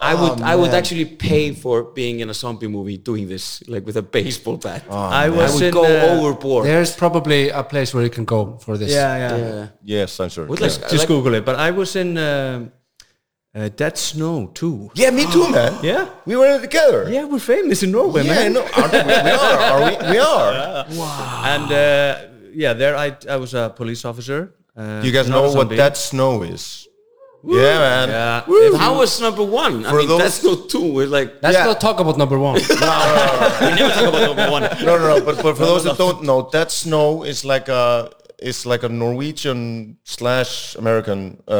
Speaker 2: I mean,
Speaker 6: wow. I would I would actually pay for being in a zombie movie doing this like with a baseball bat.
Speaker 2: um, Oh,
Speaker 1: I
Speaker 6: I
Speaker 1: was
Speaker 6: would
Speaker 1: in,
Speaker 6: go
Speaker 1: uh,
Speaker 6: overboard.
Speaker 3: There's probably a place where you can go for this.
Speaker 1: Yeah, yeah.
Speaker 6: Yeah.
Speaker 2: Yes, I'm sure.
Speaker 6: Would
Speaker 2: yeah.
Speaker 6: like-
Speaker 1: Just Google it. But I was in um uh, Dead Snow too.
Speaker 2: yeah, me too, man.
Speaker 1: Yeah.
Speaker 2: we were together.
Speaker 1: Yeah, we're famous in Norway,
Speaker 2: yeah,
Speaker 1: man.
Speaker 2: I know. Aren't we, we are. Are we? We are.
Speaker 1: And uh, yeah, there I, I was a police officer. Uh,
Speaker 2: You
Speaker 1: not
Speaker 2: guys
Speaker 1: a
Speaker 2: know what
Speaker 1: zombie.
Speaker 2: that snow is? Yeah, man.
Speaker 1: Yeah.
Speaker 6: How was number one? I
Speaker 2: For
Speaker 6: mean,
Speaker 2: those-
Speaker 6: that's not two. We're like
Speaker 3: Let's
Speaker 2: Yeah.
Speaker 3: not talk about number one.
Speaker 6: we never talk about number one.
Speaker 2: No, no, no. But, but for those that don't know, that snow is like a is like a Norwegian slash American uh,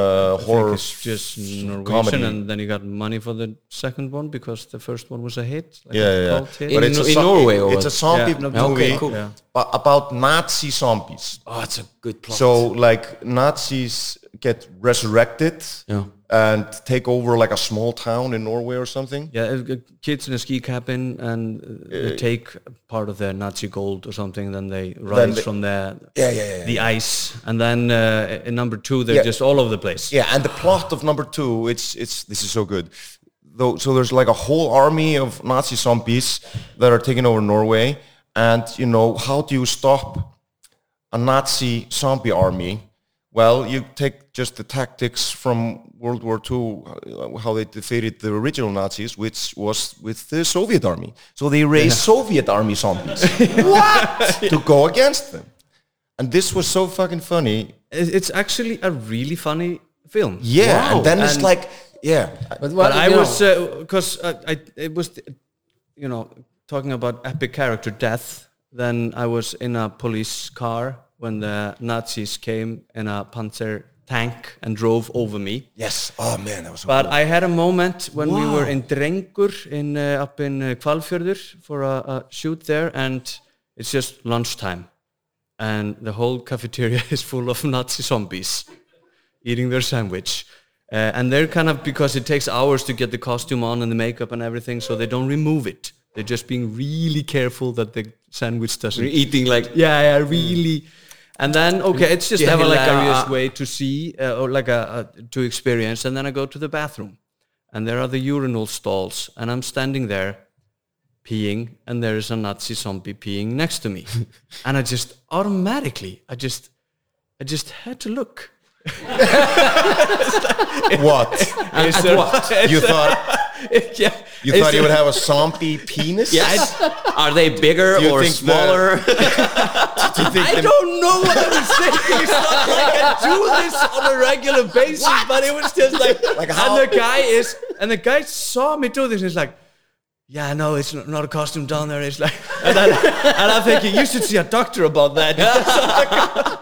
Speaker 2: horror.
Speaker 1: It's just Norwegian,
Speaker 2: comedy.
Speaker 1: and then you got money for the second one because the first one was a hit. Like
Speaker 2: Yeah,
Speaker 1: a
Speaker 2: yeah.
Speaker 1: cult hit.
Speaker 2: But
Speaker 6: In-
Speaker 2: it's a
Speaker 6: in Norway or
Speaker 2: It's a
Speaker 6: what?
Speaker 2: zombie
Speaker 1: Yeah.
Speaker 6: Okay,
Speaker 2: movie
Speaker 6: cool.
Speaker 1: Yeah.
Speaker 2: a- about Nazi zombies.
Speaker 6: Oh, it's a good plot.
Speaker 2: So like Nazis get resurrected
Speaker 6: Yeah.
Speaker 2: and take over like a small town in Norway or something.
Speaker 1: Yeah, uh, uh, kids in a ski cabin and uh, they take part of their Nazi gold or something, then they rise
Speaker 2: they-
Speaker 1: from the
Speaker 2: Yeah, yeah, yeah,
Speaker 1: the ice, and then uh, in number two they're
Speaker 2: Yeah.
Speaker 1: just all over the place.
Speaker 2: Yeah, and the plot of number two, it's it's this is so good. Though, so there's like a whole army of Nazi zombies that are taking over Norway, and you know how do you stop a Nazi zombie army Well, you take just the tactics from World War II, uh, how they defeated the original Nazis, which was with the Soviet army. So they raised Soviet army zombies. what? To go against them. And this was so fucking funny.
Speaker 1: It- It's actually a really funny film.
Speaker 2: Yeah. And then it's
Speaker 1: And-
Speaker 2: like, yeah.
Speaker 3: But, what,
Speaker 1: But I
Speaker 3: you know,
Speaker 1: was because uh, I, I it was you know talking about epic character death. Then I was in a police car when the Nazis came in a Panzer tank and drove over me.
Speaker 2: Yes. Oh man, that was so
Speaker 1: But I had a moment when we were in Drengur in uh, up in uh, Hvalfjörður for a, a shoot there, and it's just lunchtime, and the whole cafeteria is full of Nazi zombies eating their sandwich. Uh, and they're kind of because it takes hours to get the costume on and the makeup and everything, so they don't remove it. They're just being really careful that the sandwich doesn't
Speaker 6: eating like
Speaker 1: yeah, yeah, really. And then okay, it's just
Speaker 6: you
Speaker 1: a
Speaker 6: have a, like, a-
Speaker 1: Mm. hilarious way to see uh, or like a, a to experience. And then I go to the bathroom, and there are the urinal stalls, and I'm standing there peeing, and there is a Nazi zombie peeing next to me, and I just automatically, I just, I just had to look.
Speaker 2: what?
Speaker 1: Is
Speaker 6: at
Speaker 1: there-
Speaker 6: what?
Speaker 2: You thought
Speaker 1: yeah, is
Speaker 2: you thought you
Speaker 1: there-
Speaker 2: would have a zombie penis?
Speaker 6: Yes. Are they bigger
Speaker 2: Do you
Speaker 6: or
Speaker 2: think the-
Speaker 6: smaller?
Speaker 2: Do you think
Speaker 1: I
Speaker 2: the-
Speaker 1: don't know what I was saying. It's not like I do this on a regular basis, but it was just like,
Speaker 2: Like how-
Speaker 1: and the guy is, and the guy saw me do this. And he's like, yeah, no, it's not, not a costume down there. It's like, and, I, and I'm thinking, you should see a doctor about that.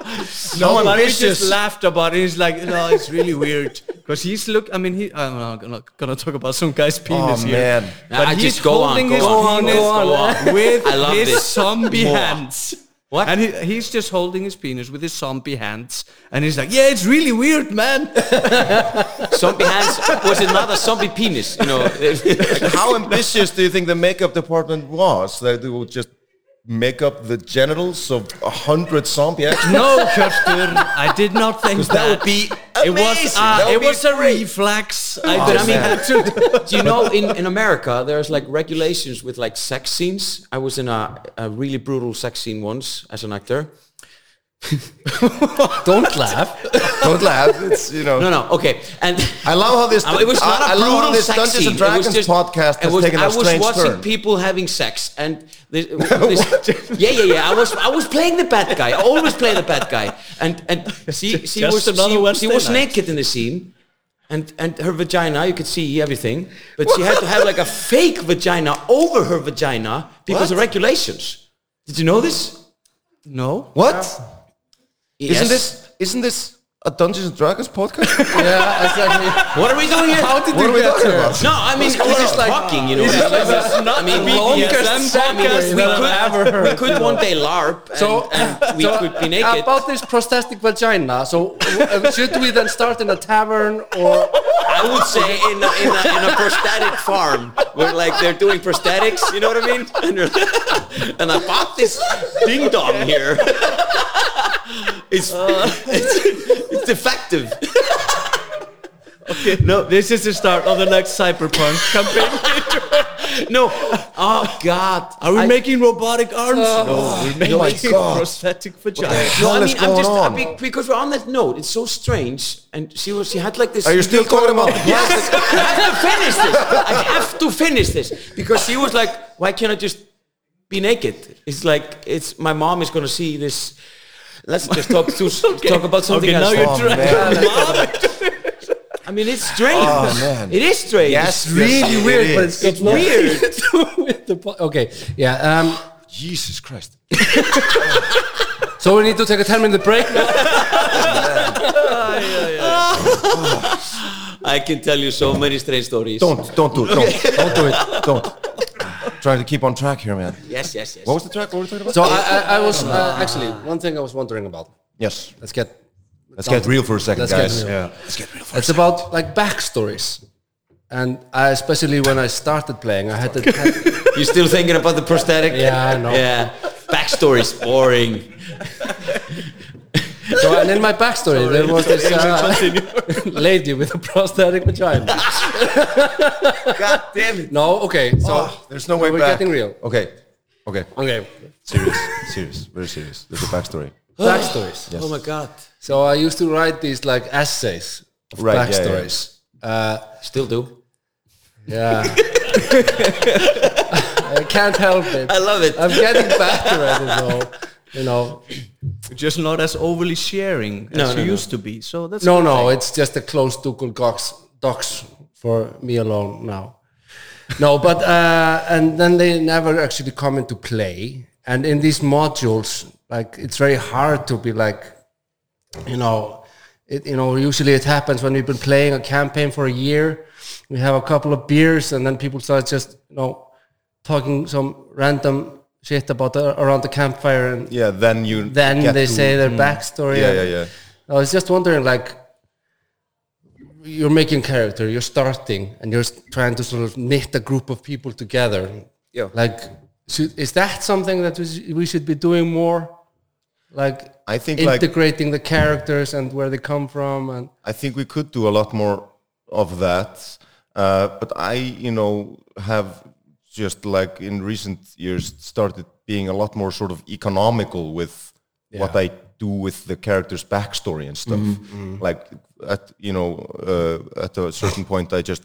Speaker 1: no,
Speaker 2: Someone
Speaker 1: but he just
Speaker 2: vicious.
Speaker 1: laughed about it. He's like, no, it's really weird. Because he's look, I mean, he, I'm not gonna, gonna talk about some guy's penis here.
Speaker 2: man.
Speaker 1: But
Speaker 6: I
Speaker 1: he's
Speaker 6: Oh, just go on,
Speaker 1: holding
Speaker 6: go
Speaker 1: his
Speaker 6: on,
Speaker 1: penis
Speaker 6: go on, go on.
Speaker 1: with
Speaker 6: I love
Speaker 1: his
Speaker 6: this.
Speaker 1: zombie
Speaker 6: More.
Speaker 1: hands.
Speaker 6: What?
Speaker 1: And he, he's just holding his penis with his zombie hands, and he's like, "Yeah, it's really weird, man."
Speaker 6: zombie hands was it not a zombie penis? You know,
Speaker 2: Like, how ambitious do you think the makeup department was? That they would just make up the genitals of a hundred zombie actors?
Speaker 1: no, Kjörtur, I did not think that.
Speaker 2: that would be
Speaker 1: It was,
Speaker 2: amazing.
Speaker 1: uh,
Speaker 2: That would
Speaker 1: it
Speaker 2: be
Speaker 1: was a
Speaker 2: great. Oh,
Speaker 1: reflex.
Speaker 6: But I
Speaker 1: I
Speaker 6: mean,
Speaker 1: mean,
Speaker 6: do you know in, in America there's like regulations with like sex scenes? I was in a, a really brutal sex scene once as an actor.
Speaker 3: don't laugh.
Speaker 2: Don't laugh. It's you know.
Speaker 6: No, no, okay, and
Speaker 2: I love how this.
Speaker 6: Um, it was not
Speaker 2: I-
Speaker 6: a
Speaker 2: I love how
Speaker 6: brutal
Speaker 2: this
Speaker 6: sex
Speaker 2: Dungeons
Speaker 6: scene.
Speaker 2: and Dragons
Speaker 6: it was just,
Speaker 2: podcast
Speaker 6: it
Speaker 2: has
Speaker 6: was,
Speaker 2: taken
Speaker 6: I
Speaker 2: a
Speaker 6: was
Speaker 2: strange
Speaker 6: watching
Speaker 2: turn.
Speaker 6: people having sex, and this, this, yeah, yeah, yeah. I was I was playing the bad guy. I always play the bad guy, and and she she
Speaker 1: Just
Speaker 6: was
Speaker 1: another
Speaker 6: she, she
Speaker 1: Wednesday
Speaker 6: was
Speaker 1: night.
Speaker 6: naked in the scene. And, and her vagina, you could see everything, but she had to have like a fake vagina over her vagina because of regulations. Did you know this?
Speaker 1: no.
Speaker 2: What?
Speaker 6: Yes.
Speaker 2: not this? Isn't this a Dungeons and Dragons podcast?
Speaker 3: yeah, exactly.
Speaker 6: What are we doing here?
Speaker 3: How did
Speaker 2: what are
Speaker 3: you
Speaker 2: we
Speaker 3: get
Speaker 2: talking
Speaker 3: here?
Speaker 2: about?
Speaker 6: No, I mean,
Speaker 3: going
Speaker 6: this is
Speaker 3: on?
Speaker 6: like fucking, you know. I mean,
Speaker 1: the longest
Speaker 6: I mean,
Speaker 1: podcast
Speaker 6: we
Speaker 1: that I've
Speaker 6: could,
Speaker 1: ever heard.
Speaker 6: We could one day LARP, and,
Speaker 3: So-
Speaker 6: and we
Speaker 3: So,
Speaker 6: could be naked.
Speaker 3: About this prosthetic vagina. So uh, should we then start in a tavern or
Speaker 6: I would say in a, in a, in a prosthetic farm where like they're doing prosthetics, you know what I mean? And, they're- and I bought this ding dong here. It's, it's it's defective.
Speaker 1: No, this is the start of the next cyberpunk campaign.
Speaker 6: No, oh God,
Speaker 1: Are we
Speaker 6: I-
Speaker 1: making robotic arms?
Speaker 2: Oh,
Speaker 1: no, we're
Speaker 2: my
Speaker 1: making
Speaker 2: God.
Speaker 1: prosthetic vaginas.
Speaker 2: What
Speaker 6: No, I
Speaker 2: is
Speaker 6: mean, I'm
Speaker 2: going
Speaker 6: just I
Speaker 2: on?
Speaker 6: be- because we're on that note. It's so strange, and she was she had like this.
Speaker 2: Are you still talking about?
Speaker 6: Yes, I have to finish this. I have to finish this because she was like, "Why can't I just be naked?" It's like it's my mom is gonna see this. Let's just talk to talk about something
Speaker 1: Okay, now
Speaker 6: else.
Speaker 1: you're
Speaker 2: Oh,
Speaker 1: trying.
Speaker 2: man.
Speaker 6: I mean, it's strange.
Speaker 2: Oh, man.
Speaker 6: It is strange.
Speaker 2: Yes,
Speaker 6: It's
Speaker 2: yes,
Speaker 3: really
Speaker 2: it
Speaker 3: weird?
Speaker 2: is.
Speaker 3: But it's, it's
Speaker 6: weird.
Speaker 3: with the po- okay, yeah. Um,
Speaker 2: Jesus Christ.
Speaker 3: so we need to take a ten minute break.
Speaker 6: I can tell you so many strange stories.
Speaker 2: Don't don't do it. Don't don't do it. Don't. Trying to keep on track here, man.
Speaker 6: Yes, yes, yes.
Speaker 2: What was the track? What were we talking about?
Speaker 3: So I, I, I was uh, actually one thing I was wondering about.
Speaker 2: yes.
Speaker 3: Let's get
Speaker 2: Let's get real for a 2nd
Speaker 3: Let's get
Speaker 2: guys.
Speaker 3: real.
Speaker 2: yeah. Let's get real for
Speaker 3: it's about like backstories, and I, especially when I started playing, I had to. had-
Speaker 6: You're still thinking about the prosthetic?
Speaker 3: Yeah, I know.
Speaker 6: Yeah. Backstory's boring.
Speaker 3: so and in my backstory there was this uh, lady with a prosthetic vagina.
Speaker 2: God damn it.
Speaker 3: No, okay, so
Speaker 2: Oh, there's no way
Speaker 3: we're
Speaker 2: back.
Speaker 3: getting real.
Speaker 2: Okay. Okay.
Speaker 3: okay,
Speaker 2: Serious. serious. Very serious. There's a backstory.
Speaker 3: backstories.
Speaker 6: Oh my God.
Speaker 3: So I used to write these like essays of
Speaker 2: Right, yeah, yeah.
Speaker 3: backstories. Uh,
Speaker 6: Still do.
Speaker 3: yeah. I can't help it.
Speaker 6: I love it.
Speaker 3: I'm getting better at it though. You know,
Speaker 1: just not as overly sharing as
Speaker 6: No,
Speaker 1: you
Speaker 6: no, no.
Speaker 1: used to be. So that's
Speaker 3: no, no, it's just a closed Google Docs, docs for me alone now. No, but uh, and then they never actually come into play. And in these modules, like it's very hard to be like, you know, it, you know. Usually it happens when we've been playing a campaign for a year. We have a couple of beers, and then people start just you know talking some random shit about the, around the campfire, and
Speaker 2: Yeah, then you.
Speaker 3: then
Speaker 2: get
Speaker 3: they
Speaker 2: to- Mm.
Speaker 3: say their backstory.
Speaker 2: Yeah,
Speaker 3: and-
Speaker 2: yeah, yeah.
Speaker 3: I was just wondering, like, you're making character, you're starting, and you're trying to sort of knit a group of people together.
Speaker 6: Yeah.
Speaker 3: Like, should, is that something that we sh- we should be doing more? Like,
Speaker 2: I think like
Speaker 3: integrating the characters and where they come from, and
Speaker 2: I think we could do a lot more of that. Uh, but I, you know, have just like in recent years started being a lot more sort of economical with what I do with the character's backstory and stuff. Like, at, you know, uh, at a certain point, I just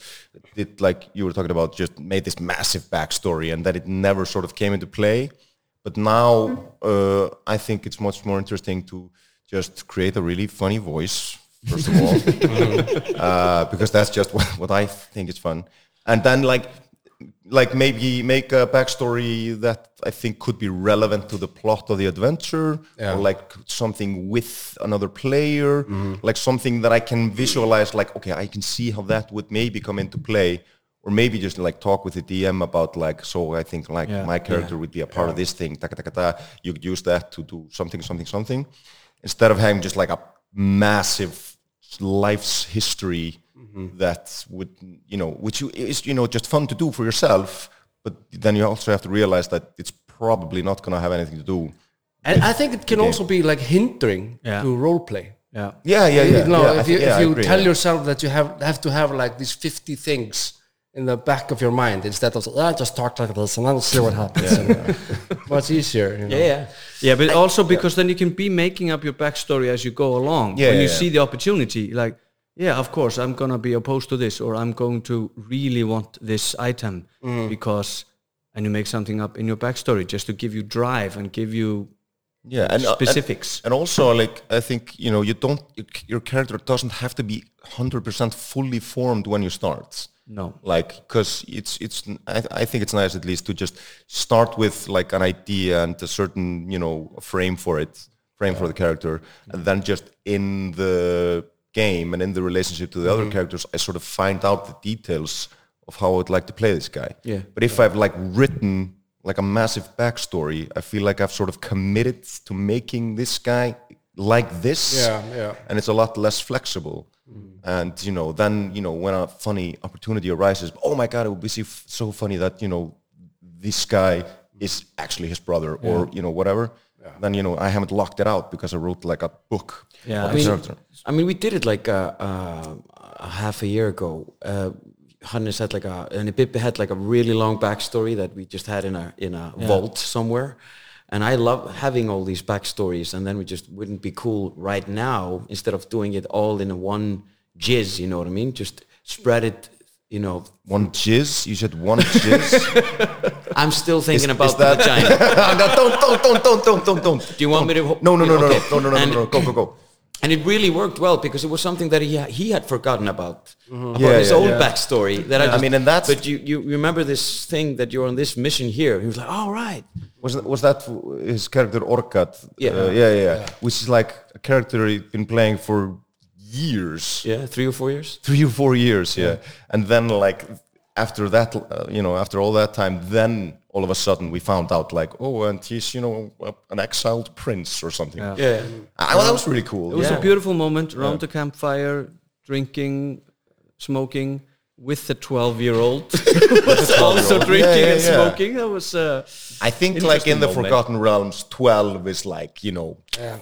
Speaker 2: did like you were talking about, just made this massive backstory and that it never sort of came into play. But now uh, I think it's much more interesting to just create a really funny voice, first of all uh, because that's just what, what I think is fun. And then like like maybe make a backstory that I think could be relevant to the plot of the adventure, or like something with another player, like something that I can visualize. Like okay, I can see how that would maybe come into play. Or maybe just like talk with the DM about like, so I think like my character would be a part of this thing, ta ta ta ta. You could use that to do something, something, something, instead of having just like a massive life's history Mm-hmm. that would you know which you- is you know just fun to do for yourself but then you also have to realize that it's probably not going to have anything to do
Speaker 3: and I think it can also be like hindering
Speaker 1: Yeah.
Speaker 3: to role play.
Speaker 1: yeah.
Speaker 2: yeah yeah yeah,
Speaker 3: you know,
Speaker 2: yeah, I
Speaker 3: if
Speaker 2: thi-
Speaker 3: you,
Speaker 2: yeah, I
Speaker 3: if you
Speaker 2: agree,
Speaker 3: tell
Speaker 2: yeah.
Speaker 3: yourself that you have have to have like these 50 things in the back of your mind instead of ah, just talk like this and I'll see what happens. Much easier. You know?
Speaker 6: Yeah.
Speaker 1: Yeah, but also because then you can be making up your backstory as you go along.
Speaker 2: Yeah,
Speaker 1: when
Speaker 2: yeah,
Speaker 1: you
Speaker 2: yeah.
Speaker 1: see the opportunity, like, yeah, of course, I'm gonna be opposed to this, or I'm going to really want this item
Speaker 2: Mm.
Speaker 1: because, and you make something up in your backstory just to give you drive and give you
Speaker 2: yeah and,
Speaker 1: specifics.
Speaker 2: and, and also like i think you know you don't your c- your character doesn't have to be 100% fully formed when you start
Speaker 1: no.
Speaker 2: like because it's it's I, I think it's nice at least to just start with like an idea and a certain you know frame for it frame for the character and then just in the game and in the relationship to the other characters i sort of find out the details of how i would like to play this guy
Speaker 1: Yeah.
Speaker 2: but if i've like written like a massive backstory i feel like i've sort of committed to making this guy like this
Speaker 3: Yeah, yeah.
Speaker 2: and it's a lot less flexible. And you know, then you know, when a funny opportunity arises, oh my god, it would be so f- so funny that you know, this guy is actually his brother, or you know, whatever. Then you know, I haven't locked it out because I wrote like a book.
Speaker 1: Yeah.
Speaker 2: on
Speaker 1: I
Speaker 6: I mean,
Speaker 2: character.
Speaker 6: I mean, we did it like a, uh a half a year ago. Uh, Hannes had like a and Ibipe had like a really long backstory that we just had in a in a vault somewhere. And I love having all these backstories, and then we just wouldn't be cool right now instead of doing it all in a one jizz. You know what I mean? Just spread it. You know,
Speaker 2: one jizz. You said one jizz.
Speaker 6: I'm still thinking about
Speaker 2: is that-
Speaker 6: the vagina.
Speaker 2: no, don't, don't, don't, don't, don't, don't, don't.
Speaker 6: Do you want me to?
Speaker 2: No, no, no, no,
Speaker 6: Okay.
Speaker 2: no, no, no, no,
Speaker 6: And-
Speaker 2: no, no. Go, go, go.
Speaker 6: and it really worked well because it was something that he he had forgotten about about
Speaker 2: Mm-hmm. Yeah,
Speaker 6: his
Speaker 2: yeah,
Speaker 6: own
Speaker 2: yeah.
Speaker 6: backstory. That I, just,
Speaker 2: mean, and that's-
Speaker 6: but you, you remember this thing that you're on this mission here. He was like, all right,
Speaker 2: Was was that his character Orkat?
Speaker 6: Yeah.
Speaker 2: Uh, yeah, yeah, yeah. Which is like a character he'd been playing for years.
Speaker 6: yeah, three or four years.
Speaker 2: three or four years yeah, and then like after that uh, you know after all that time then all of a sudden we found out like oh and he's you know a- an exiled prince or something yeah.
Speaker 6: Yeah,
Speaker 2: I, well, that was really cool
Speaker 1: It was
Speaker 2: yeah.
Speaker 1: a beautiful moment around the campfire, drinking, smoking with the 12 year old was also drinking
Speaker 2: Yeah, yeah,
Speaker 1: and
Speaker 2: yeah.
Speaker 1: smoking. That was, uh,
Speaker 2: i think like in
Speaker 1: Interesting
Speaker 2: the
Speaker 1: moment.
Speaker 2: forgotten realms 12 is like you know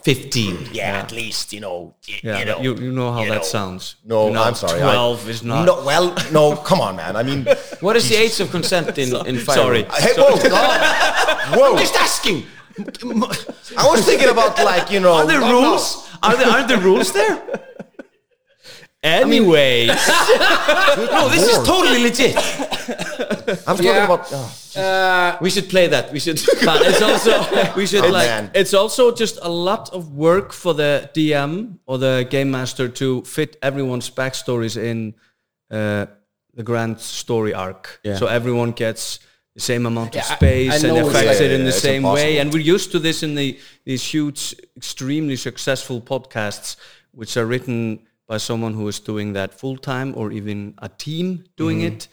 Speaker 6: fifteen.
Speaker 7: yeah, at least you know, y-
Speaker 1: yeah,
Speaker 7: you know,
Speaker 1: you, you know how
Speaker 7: you
Speaker 1: that
Speaker 7: know.
Speaker 1: sounds.
Speaker 2: no
Speaker 1: You know,
Speaker 2: i'm sorry I-
Speaker 1: 12 is not.
Speaker 2: no well no come on man i mean
Speaker 6: What is the age of consent in in fire?
Speaker 1: sorry.
Speaker 2: hey whoa whoa
Speaker 6: just asking.
Speaker 2: i was thinking about like you know
Speaker 6: Are there rules? Are there, aren't there rules there? Anyways. no, this is totally legit.
Speaker 2: I'm talking
Speaker 3: Yeah.
Speaker 2: about. ah,
Speaker 6: We should play that. We should. but
Speaker 1: it's also we should
Speaker 2: Oh,
Speaker 1: like
Speaker 2: man.
Speaker 1: it's also just a lot of work for the DM or the game master to fit everyone's backstories in uh, the grand story arc.
Speaker 6: Yeah.
Speaker 1: So everyone gets the same amount of
Speaker 3: Yeah, I- I
Speaker 1: space
Speaker 3: know
Speaker 1: and
Speaker 3: it's
Speaker 1: affects
Speaker 2: like-
Speaker 1: it in
Speaker 2: Yeah,
Speaker 1: the
Speaker 2: it's
Speaker 1: same way.
Speaker 2: impossible.
Speaker 1: And we're used to this in the these huge, extremely successful podcasts, which are written by someone who is doing that full time or even a team doing it.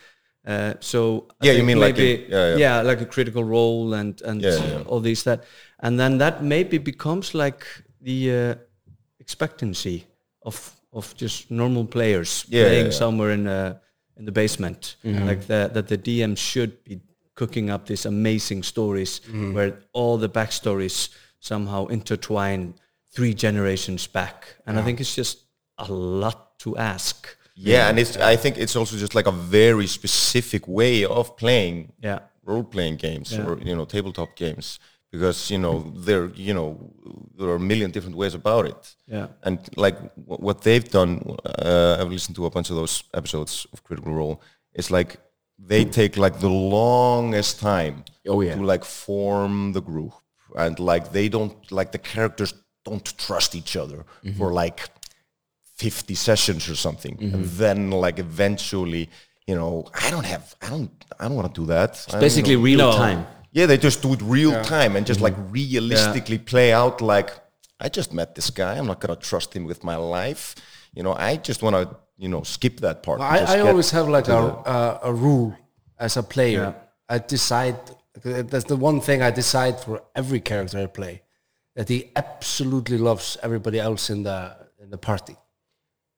Speaker 1: Uh, so I
Speaker 2: Mm-hmm. Yeah, you
Speaker 1: think
Speaker 2: mean like
Speaker 1: maybe
Speaker 2: in- yeah, yeah.
Speaker 1: yeah, like a critical role and and
Speaker 2: Yeah, yeah.
Speaker 1: all these that, and then that maybe becomes like the uh, expectancy of of just normal players
Speaker 2: Yeah, yeah,
Speaker 1: playing
Speaker 2: yeah.
Speaker 1: somewhere in uh, in the basement, like that that the DM should be cooking up these amazing stories where all the backstories somehow intertwine three generations back, and I think it's just a lot to ask.
Speaker 2: yeah, and it's. I think it's also just like a very specific way of playing
Speaker 1: Yeah.
Speaker 2: role playing games
Speaker 1: Yeah.
Speaker 2: or you know tabletop games because you know there you know there are a million different ways about it
Speaker 1: Yeah.
Speaker 2: and like wh- what they've done uh, i've listened to a bunch of those episodes of critical role it's like they take like the longest time
Speaker 6: Oh, yeah.
Speaker 2: to like form the group and like they don't like the characters don't trust each other
Speaker 1: Mm-hmm.
Speaker 2: for like 50 sessions or something and
Speaker 6: Mm-hmm.
Speaker 2: then like eventually you know i don't have i don't i don't want to do that I don't
Speaker 6: basically
Speaker 2: know.
Speaker 6: real Mm-hmm. time.
Speaker 2: yeah they just do it real time and just like realistically play out like i just met this guy i'm not going to trust him with my life you know i just want to you know skip that part and
Speaker 3: I,
Speaker 2: just
Speaker 3: I
Speaker 2: get
Speaker 3: always have like
Speaker 2: to
Speaker 3: a,
Speaker 2: the-
Speaker 3: a, a rule as a player. I decide, that's the one thing I decide for every character I play, that he absolutely loves everybody else in the, in the party.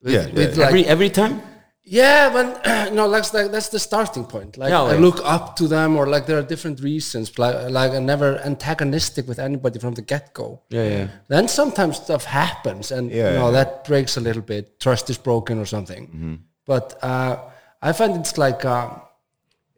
Speaker 3: With,
Speaker 2: Yeah, yeah,
Speaker 3: with like,
Speaker 6: every, every time?
Speaker 3: yeah, when you know, like, like that's the starting point. Like
Speaker 6: Yeah,
Speaker 3: I
Speaker 6: yeah.
Speaker 3: look up to them, or like there are different reasons. Like, like I'm never antagonistic with anybody from the get go.
Speaker 6: Yeah, yeah.
Speaker 3: Then sometimes stuff happens, and
Speaker 2: Yeah,
Speaker 3: you know
Speaker 2: yeah.
Speaker 3: that breaks a little bit. Trust is broken or something.
Speaker 6: Mm-hmm.
Speaker 3: But uh, I find it's like uh,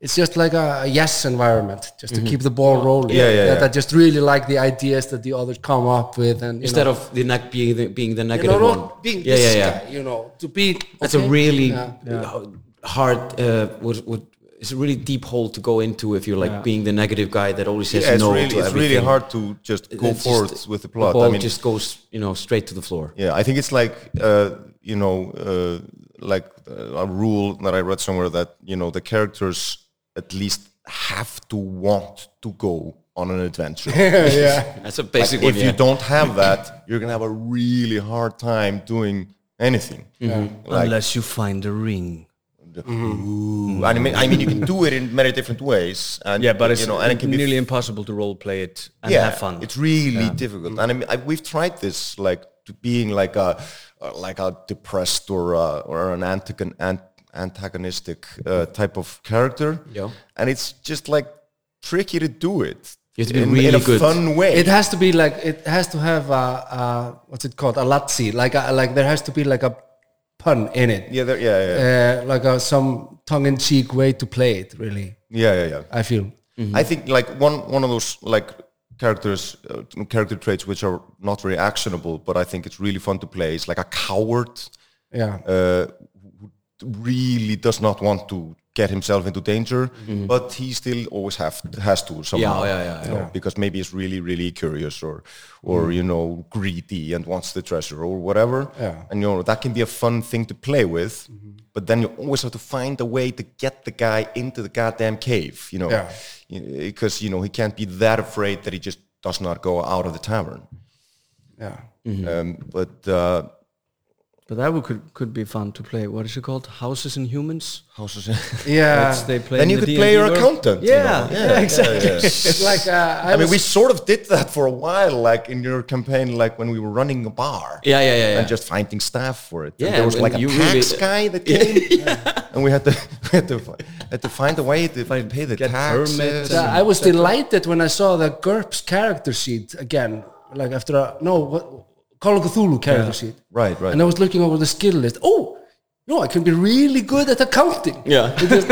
Speaker 3: it's just like a a yes environment, just
Speaker 6: Mm-hmm.
Speaker 3: to keep the ball rolling.
Speaker 2: Yeah, yeah,
Speaker 3: That
Speaker 2: yeah.
Speaker 3: I just really like the ideas that the others come up with, and you
Speaker 6: Instead
Speaker 3: know,
Speaker 6: of the neg- being, the, being the
Speaker 3: you
Speaker 6: negative
Speaker 3: know,
Speaker 6: one.
Speaker 3: not being
Speaker 6: yeah,
Speaker 3: this
Speaker 6: yeah, yeah.
Speaker 3: guy, you know, to be
Speaker 6: That's
Speaker 3: okay,
Speaker 6: a really
Speaker 3: yeah.
Speaker 6: uh, hard, uh, what, what, it's a really deep hole to go into if you're like being the negative guy that always says
Speaker 2: yeah, it's
Speaker 6: no
Speaker 2: really
Speaker 6: to
Speaker 2: it's really
Speaker 6: everything.
Speaker 2: hard to just go
Speaker 6: It's just-
Speaker 2: forward with the plot
Speaker 6: ball
Speaker 2: i mean
Speaker 6: just goes, you know, straight to the floor.
Speaker 2: Yeah, I think it's like uh, you know, uh, like uh, a rule that I read somewhere that you know the characters at least have to want to go on an adventure.
Speaker 6: That's a basic
Speaker 2: if you don't have that, you're gonna have a really hard time doing anything.
Speaker 1: Mm-hmm.
Speaker 2: Like,
Speaker 1: Unless you find a ring.
Speaker 2: Ooh, I mean, I mean, you can do it in many different ways. And,
Speaker 1: Yeah, but it's
Speaker 2: you know, and it can be
Speaker 1: nearly impossible to role play it and have fun.
Speaker 2: It's really difficult, and I mean, I, we've tried this like to being like a uh, like a depressed or a, or an antagon, an, antagonistic uh, type of character.
Speaker 6: Yeah.
Speaker 2: and it's just like tricky to do it.
Speaker 6: You have to be
Speaker 2: in, in
Speaker 6: really
Speaker 2: a
Speaker 6: good.
Speaker 2: fun way.
Speaker 3: It has to be like it has to have a, a what's it called a latzi like a, like there has to be like a pun in it
Speaker 2: yeah, there- yeah, yeah,
Speaker 3: uh, like a, some tongue in cheek way to play it really
Speaker 2: yeah, yeah, yeah.
Speaker 3: I feel
Speaker 6: Mm-hmm.
Speaker 2: I think like one one of those like characters uh, character traits which are not very actionable, but I think it's really fun to play. It's like a coward.
Speaker 3: yeah
Speaker 2: uh, who really does not want to get himself into danger, but he still always have has to somehow.
Speaker 6: yeah, yeah,
Speaker 2: you know, Because maybe he's really, really curious or, or you know, greedy and wants the treasure or whatever.
Speaker 3: Yeah.
Speaker 2: And you know that can be a fun thing to play with, but then you always have to find a way to get the guy into the goddamn cave. You know,
Speaker 3: Yeah.
Speaker 2: because you know he can't be that afraid that he just does not go out of the tavern.
Speaker 3: yeah
Speaker 2: Um, but uh,
Speaker 1: But that would, could could be fun to play. What is it called? Houses and Humans.
Speaker 2: houses.
Speaker 3: yeah
Speaker 1: they play
Speaker 2: then
Speaker 1: in
Speaker 2: you
Speaker 1: the
Speaker 2: could play your
Speaker 1: D&D world.
Speaker 2: accountant. you
Speaker 1: Yeah,
Speaker 2: know.
Speaker 1: yeah, exactly.
Speaker 2: yeah, yeah.
Speaker 3: like uh, I,
Speaker 2: I mean,
Speaker 3: was-
Speaker 2: we sort of did that for a while, like in your campaign, like when we were running a bar.
Speaker 6: Yeah, yeah, yeah,
Speaker 2: And
Speaker 6: yeah.
Speaker 2: just finding staff for it.
Speaker 6: Yeah,
Speaker 2: and there was
Speaker 6: and
Speaker 2: like a
Speaker 6: you
Speaker 2: tax
Speaker 6: really-
Speaker 2: guy that came, and we had to we had to fi- had to find a way to pay the
Speaker 1: get
Speaker 2: taxes.
Speaker 1: permits
Speaker 3: uh, I was delighted when I saw the GURPS character sheet again like after a no what Call of Cthulhu character sheet
Speaker 2: Right, right.
Speaker 3: and I was looking over the skill list oh no, I can be really good at accounting.
Speaker 6: Yeah.
Speaker 3: because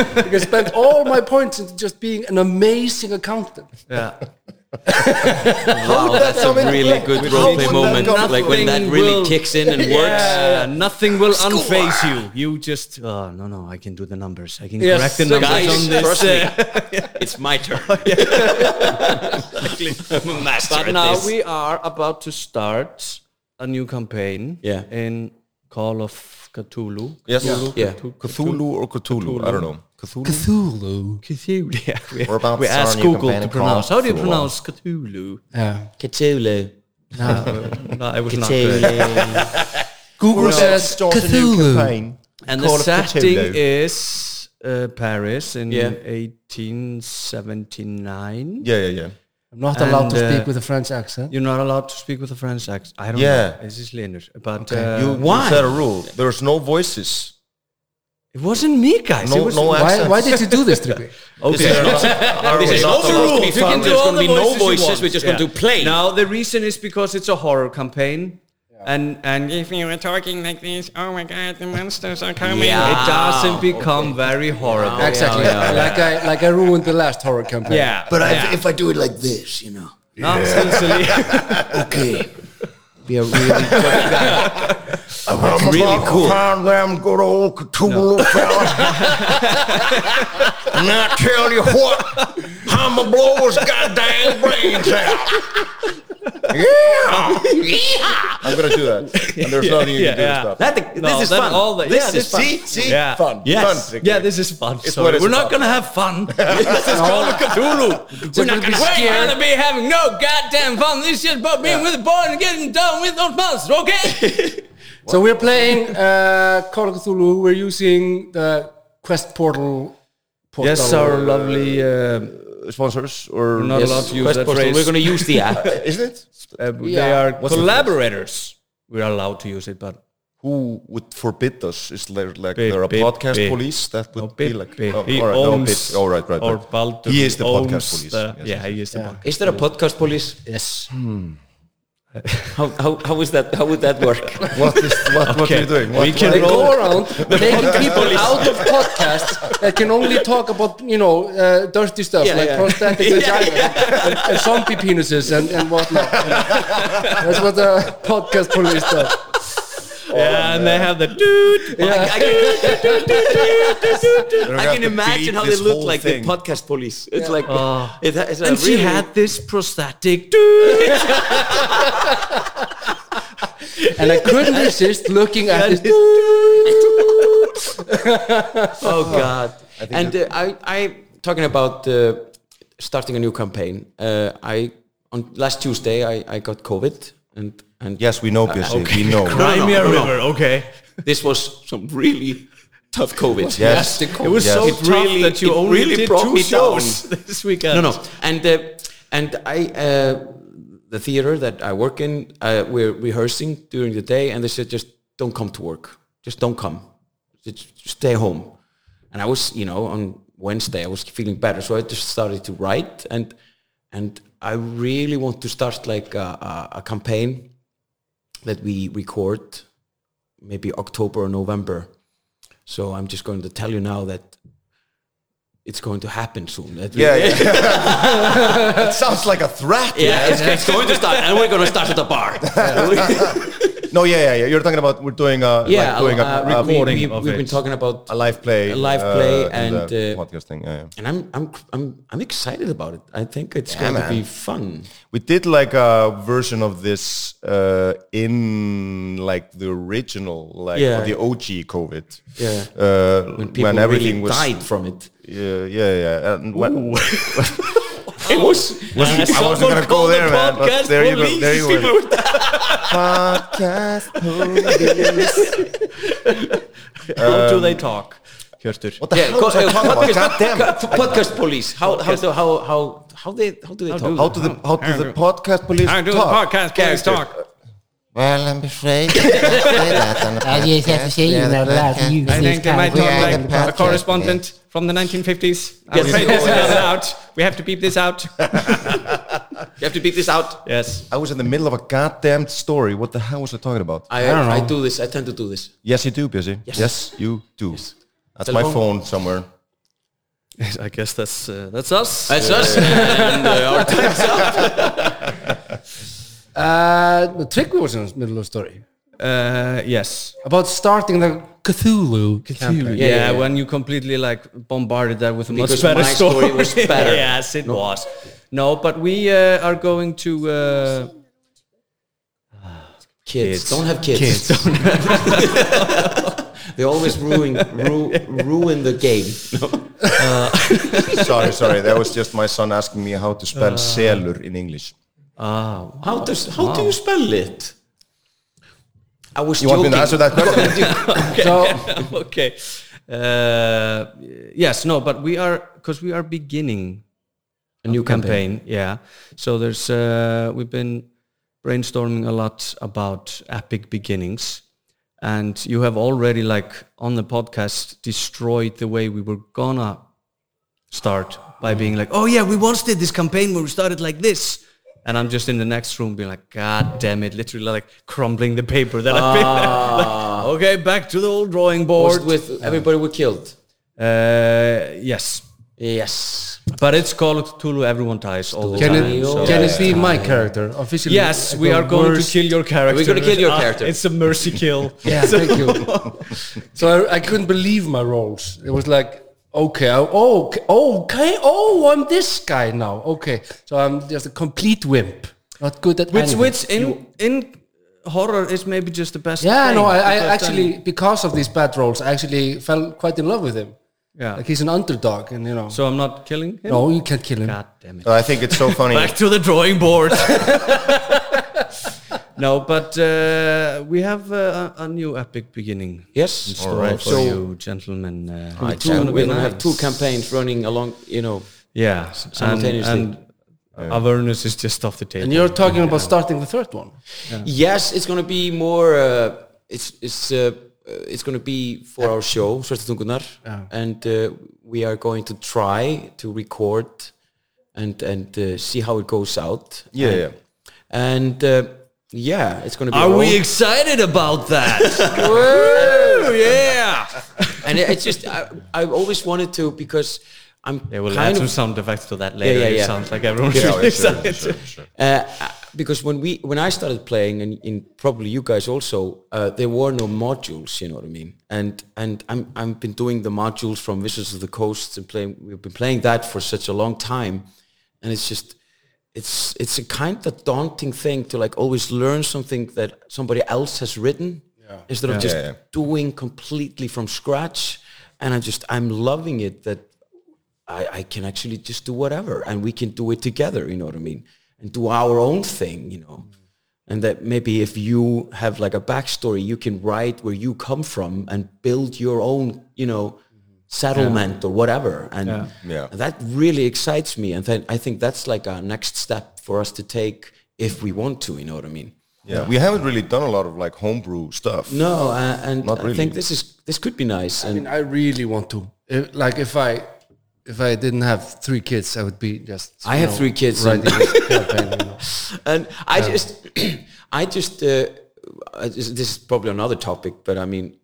Speaker 3: I spent all my points into just being an amazing accountant.
Speaker 1: Yeah.
Speaker 6: Wow, that's a
Speaker 2: come into
Speaker 6: really
Speaker 2: play?
Speaker 6: good
Speaker 2: How
Speaker 6: role
Speaker 2: would
Speaker 6: play
Speaker 2: that
Speaker 6: moment.
Speaker 2: come
Speaker 6: Like when that
Speaker 1: Nothing
Speaker 6: really
Speaker 1: will-
Speaker 6: kicks in and works.
Speaker 1: Yeah, nothing will unface you. You just, oh, no, no, I can do the numbers. I can
Speaker 3: Yes,
Speaker 1: correct the numbers
Speaker 6: guys,
Speaker 1: on this.
Speaker 6: trust me.
Speaker 1: uh,
Speaker 6: It's my turn. I'm a master
Speaker 1: but
Speaker 6: at
Speaker 1: now
Speaker 6: this.
Speaker 1: we are about to start a new campaign
Speaker 6: Yeah.
Speaker 1: in Call of Cthulhu.
Speaker 2: Yes.
Speaker 6: Yeah.
Speaker 2: Cthulhu or Cthulhu, I don't know. Cthulhu.
Speaker 1: Cthulhu. Cthulhu. Yeah, we,
Speaker 2: We're about
Speaker 1: we
Speaker 2: to start
Speaker 1: asked
Speaker 2: a new
Speaker 1: Google
Speaker 2: campaign
Speaker 1: to
Speaker 2: called
Speaker 1: pronounce. How do you
Speaker 2: Cthulhu.
Speaker 1: pronounce Cthulhu?
Speaker 3: Yeah.
Speaker 6: Cthulhu.
Speaker 1: No, I was not good.
Speaker 6: Cthulhu.
Speaker 2: Google says start a new
Speaker 3: Cthulhu.
Speaker 2: campaign.
Speaker 1: And
Speaker 2: Call
Speaker 1: the
Speaker 2: of
Speaker 1: setting
Speaker 2: Cthulhu.
Speaker 1: is uh, Paris in
Speaker 6: Yeah.
Speaker 1: 1879.
Speaker 2: Yeah, yeah, yeah.
Speaker 3: I'm not allowed to
Speaker 1: And, uh,
Speaker 3: speak with a French accent.
Speaker 1: You're not allowed to speak with a French accent. I don't
Speaker 2: Yeah.
Speaker 1: know. It's just Leonard. But uh,
Speaker 2: you,
Speaker 6: why?
Speaker 2: you set a rule. There's no voices.
Speaker 1: it wasn't me, guys.
Speaker 2: No,
Speaker 1: it was
Speaker 2: no
Speaker 3: Why,
Speaker 2: accents.
Speaker 3: why did you do this, Trippi?
Speaker 2: Is there not- are we
Speaker 6: is
Speaker 2: not
Speaker 6: also
Speaker 2: allowed-
Speaker 6: rule. You can do all the voices you want. Yeah.
Speaker 1: Now the reason is because it's a horror campaign, and and it
Speaker 8: If you were talking like this, oh my god, the monsters are coming.
Speaker 6: Yeah.
Speaker 1: doesn't become very horrible. Yeah,
Speaker 3: Exactly. Like I like I ruined the last horror campaign.
Speaker 8: But I,
Speaker 1: yeah.
Speaker 8: if I do it like this, you know,
Speaker 1: Now it's sincerely-
Speaker 8: okay.
Speaker 3: Be a really
Speaker 8: It's really cool.
Speaker 7: Find them good old Cthulhu fellas. and I tell you what, I'm a blow his goddamn brains out. Yeah.
Speaker 2: I'm gonna do that. And there's nothing you
Speaker 1: yeah,
Speaker 2: can do
Speaker 1: yeah.
Speaker 2: to stop. it.
Speaker 6: That-
Speaker 1: No,
Speaker 6: this is
Speaker 1: then
Speaker 6: fun.
Speaker 1: all the-
Speaker 6: this
Speaker 1: yeah,
Speaker 6: is
Speaker 1: this-
Speaker 6: fun.
Speaker 2: See, see,
Speaker 1: Yeah.
Speaker 2: fun.
Speaker 6: Yes.
Speaker 2: fun, Ricky.
Speaker 1: yeah, this is fun.
Speaker 2: what
Speaker 1: Sorry.
Speaker 2: it's
Speaker 1: We're not
Speaker 2: about.
Speaker 1: gonna have fun.
Speaker 6: this is Call of Cthulhu.
Speaker 3: We're not gonna be scared.
Speaker 1: be having no goddamn fun. This shit about being with a boy and getting down with those monsters, okay?
Speaker 3: So we're playing uh, Call of Cthulhu. We're using the quest portal. portal.
Speaker 1: yes, our lovely. Uh,
Speaker 2: Sponsors or
Speaker 1: we're not allowed to use
Speaker 6: Quest
Speaker 1: that
Speaker 6: Postal,
Speaker 1: phrase.
Speaker 6: We're going to use the app.
Speaker 2: Isn't it?
Speaker 1: Uh, They
Speaker 3: Yeah.
Speaker 1: are
Speaker 2: the
Speaker 1: collaborators. We're allowed to use it, but
Speaker 2: Who would forbid us? Is there like
Speaker 1: Bip,
Speaker 2: there a
Speaker 1: bip,
Speaker 2: podcast
Speaker 1: bip.
Speaker 2: police that would
Speaker 1: no,
Speaker 2: be
Speaker 1: Bip-
Speaker 2: like?
Speaker 1: Bip-
Speaker 2: oh,
Speaker 1: he
Speaker 2: all right, no,
Speaker 1: owns
Speaker 2: Bip, all right, right,
Speaker 1: or
Speaker 2: right.
Speaker 1: Baldur
Speaker 2: He is the
Speaker 1: owns
Speaker 2: podcast police.
Speaker 1: the-
Speaker 2: Yes,
Speaker 1: yeah,
Speaker 2: yes,
Speaker 1: he is the podcast.
Speaker 6: Is there a podcast police? Hmm.
Speaker 3: Yes.
Speaker 6: How, how, how is that? How would that work?
Speaker 2: What is what? What are you doing? What,
Speaker 1: we can
Speaker 3: They
Speaker 1: roll.
Speaker 3: go around taking people out of podcasts that can only talk about, you know, uh, dirty stuff
Speaker 6: Yeah,
Speaker 3: like
Speaker 6: yeah.
Speaker 3: prosthetic vagina And, and zombie penises and, and whatnot. That's what the podcast police does.
Speaker 1: yeah, and they have the dude.
Speaker 6: I, I can, I
Speaker 2: have
Speaker 6: can
Speaker 2: to bleep
Speaker 6: imagine how they
Speaker 2: this
Speaker 6: look
Speaker 2: whole
Speaker 6: like
Speaker 2: thing.
Speaker 6: the podcast police. It's like it, it's a
Speaker 1: And she
Speaker 6: really-
Speaker 1: had this prosthetic dude.
Speaker 3: And I couldn't resist looking at this.
Speaker 6: oh god and uh, I, I talking about uh, starting a new campaign uh, i on last tuesday i, I got covid and and
Speaker 2: yes, we know, Busy. We know.
Speaker 1: Crimea
Speaker 6: no, no.
Speaker 1: River, okay.
Speaker 6: this was some really tough covid
Speaker 2: Yes,
Speaker 1: It was
Speaker 2: Yes.
Speaker 1: so
Speaker 2: It
Speaker 1: tough
Speaker 6: really-
Speaker 1: that you
Speaker 6: it
Speaker 1: only
Speaker 6: really
Speaker 1: did
Speaker 6: brought
Speaker 1: two
Speaker 6: me down.
Speaker 1: shows this weekend.
Speaker 6: no no and uh, and i uh, the theater that i work in uh, we're rehearsing during the day and they said just don't come to work just don't come just stay home and i was you know on wednesday i was feeling better so i just started to write and and i really want to start like a, a, a campaign that we record maybe october or november so i'm just going to tell you now that it's going to happen soon that we-
Speaker 2: Yeah, yeah. it sounds like a threat.
Speaker 6: yeah, it's, it's going to start, and we're going to start at the bar.
Speaker 2: No, yeah, yeah, yeah. You're talking about we're doing a
Speaker 6: yeah,
Speaker 2: like doing a,
Speaker 6: uh, we-
Speaker 2: a,
Speaker 1: recording
Speaker 6: We, we,
Speaker 1: of
Speaker 6: we've been
Speaker 1: it.
Speaker 6: talking about,
Speaker 2: a live play, uh,
Speaker 6: a live play and,
Speaker 2: the
Speaker 6: uh,
Speaker 2: podcast thing. Yeah, yeah.
Speaker 6: and I'm I'm I'm I'm excited about it. I think it's going to be fun.
Speaker 2: We did like a version of this uh, in like the original, like
Speaker 6: Yeah.
Speaker 2: or the OG COVID.
Speaker 6: Yeah.
Speaker 2: Uh,
Speaker 6: When
Speaker 2: when,
Speaker 6: people
Speaker 2: everything
Speaker 6: really
Speaker 2: was
Speaker 6: died from it,
Speaker 2: Yeah, yeah, yeah. And when,
Speaker 6: it was.
Speaker 2: I wasn't gonna go there, man. But there you go. There you go. Podcast
Speaker 1: How do
Speaker 2: Um,
Speaker 1: they talk? Hjörtur.
Speaker 2: What the
Speaker 6: Yeah,
Speaker 2: hell was I talking about? God damn it.
Speaker 6: podcast, podcast police. How how do, how how how they how do they talk?
Speaker 2: How do the how do the podcast police
Speaker 8: I do the
Speaker 2: talk?
Speaker 8: podcast, please talk.
Speaker 9: Well, I'm afraid you can't say that on a podcast.
Speaker 10: yes, that's a shame,
Speaker 9: We are the
Speaker 10: not allowed to
Speaker 9: podcast.
Speaker 10: use
Speaker 8: I think they might
Speaker 9: We are
Speaker 8: talk
Speaker 9: the
Speaker 8: like a
Speaker 9: podcast,
Speaker 8: correspondent from the 1950s. I'm afraid this is not out. We have to beep this out.
Speaker 6: you have to beat this out.
Speaker 1: Yes.
Speaker 2: I was in the middle of a goddamn story. What the hell was I talking about?
Speaker 6: I I, do this. I tend to do this.
Speaker 2: yes, you do, busy. Yes, you do. That's my
Speaker 6: Telephone.
Speaker 2: phone somewhere.
Speaker 1: I guess that's uh, that's us.
Speaker 6: That's us.
Speaker 1: and uh, our time's
Speaker 3: Uh, the Tryggvi was in the middle of the story.
Speaker 1: Uh, yes.
Speaker 3: About starting the Cthulhu.
Speaker 1: Yeah,
Speaker 3: campaign.
Speaker 1: when you completely like bombarded that with a much
Speaker 6: Because
Speaker 1: better
Speaker 6: my story was better.
Speaker 1: yes, it was. No, but we uh, are going to. Uh,
Speaker 6: Kids.
Speaker 1: Kids.
Speaker 6: Don't have kids.
Speaker 1: Kids. Don't
Speaker 6: they always ruin ru- ruin the game.
Speaker 2: sorry, sorry. That was just my son asking me how to spell selur in English.
Speaker 1: ah,
Speaker 6: How does how do you spell it? I was
Speaker 2: You want
Speaker 6: joking.
Speaker 2: me to answer that question?
Speaker 1: okay. Uh, yes, no, but we are because we are beginning a new campaign. Yeah. So there's uh, we've been brainstorming a lot about epic beginnings, and you have already like on the podcast destroyed the way we were gonna start by being like, oh yeah, we once did this campaign where we started like this. And I'm just in the next room being like, God damn it, literally like crumbling the paper that I've been like, okay, back to the old drawing
Speaker 6: Ah. Was
Speaker 1: board.
Speaker 6: with everybody were killed.
Speaker 1: uh, yes.
Speaker 6: Yes.
Speaker 1: But it's called Cthulhu, everyone dies all the
Speaker 3: Can
Speaker 1: time.
Speaker 3: it,
Speaker 1: so-
Speaker 3: can it be my character officially?
Speaker 1: yes,
Speaker 3: Like
Speaker 1: we
Speaker 3: the
Speaker 1: are going
Speaker 3: worst-
Speaker 1: to kill your character.
Speaker 6: We're gonna kill your
Speaker 1: Ah,
Speaker 6: character.
Speaker 1: It's a mercy kill.
Speaker 3: Yeah, thank you. So I, I couldn't believe my roles. It was like, okay, I, oh, okay, oh, okay, oh, I'm this guy now. Okay, so I'm just a complete wimp, not good at
Speaker 1: which,
Speaker 3: anything.
Speaker 1: which in, in horror is maybe just the best
Speaker 3: yeah,
Speaker 1: thing,
Speaker 3: no, I, I
Speaker 1: because then-
Speaker 3: actually because of these bad roles, I actually fell quite in love with him.
Speaker 1: Yeah.
Speaker 3: like he's an underdog, and you know,
Speaker 1: So I'm not killing him?
Speaker 3: no, you can't kill him.
Speaker 1: God damn it.
Speaker 2: I think it's so funny.
Speaker 1: back to the drawing board. no, but uh, we have uh, a, a new epic beginning.
Speaker 6: Yes.
Speaker 1: in store
Speaker 2: right.
Speaker 1: for
Speaker 6: So-
Speaker 1: you, gentlemen. Uh,
Speaker 6: I
Speaker 1: it's gonna
Speaker 6: can-
Speaker 1: be
Speaker 6: We're gonna have
Speaker 1: nice.
Speaker 6: two campaigns running along. You know.
Speaker 1: Yeah,
Speaker 6: simultaneously.
Speaker 1: And, and Avernus is just off the table.
Speaker 3: And you're talking about starting the third one.
Speaker 6: Yes, it's gonna be more. Uh, it's it's. Uh, uh, it's going to be for our show, Svartatungunar, and uh, we are going to try to record and and uh, see how it goes out.
Speaker 2: Yeah,
Speaker 6: and,
Speaker 2: yeah.
Speaker 6: and uh, yeah, it's going to be.
Speaker 1: Are
Speaker 6: our
Speaker 1: we
Speaker 6: own-
Speaker 1: excited about that? Woo, yeah.
Speaker 6: and it, it's just I, I've always wanted to because I'm
Speaker 1: They will add
Speaker 6: kind
Speaker 1: some
Speaker 6: of
Speaker 1: sound effects to that later.
Speaker 6: yeah, yeah.
Speaker 1: It sounds like everyone's
Speaker 2: Yeah,
Speaker 1: really
Speaker 2: sure,
Speaker 1: excited.
Speaker 2: sure, sure.
Speaker 6: uh, because when we when I started playing and, and probably you guys also uh, there were no modules you know what I mean and and I'm I've been doing the modules from Wizards of the Coast and playing we've been playing that for such a long time and it's just it's it's a kind of daunting thing to like always learn something that somebody else has written instead of just
Speaker 2: Yeah, yeah.
Speaker 6: doing completely from scratch and I just I'm loving it that I, I can actually just do whatever and we can do it together, you know what I mean? And do our own thing, you know.
Speaker 3: Mm-hmm.
Speaker 6: And that maybe if you have like a backstory, you can write where you come from and build your own, you know,
Speaker 3: Mm-hmm.
Speaker 6: settlement or whatever. And
Speaker 2: Yeah.
Speaker 6: that really excites me. And then I think that's like a next step for us to take if we want to, you know what I mean?
Speaker 2: Yeah, we haven't really done a lot of like homebrew stuff.
Speaker 6: No, uh, and
Speaker 2: Not
Speaker 6: I
Speaker 2: really.
Speaker 6: think this is this could be nice.
Speaker 3: I
Speaker 6: And
Speaker 3: mean, I really want to. If, like, if I if I didn't have three kids, I would be just.
Speaker 6: I
Speaker 3: you
Speaker 6: have
Speaker 3: know,
Speaker 6: three kids and-
Speaker 3: Writing this campaign, you know.
Speaker 6: and I just, I just, uh, I just- this is probably another topic, but I mean,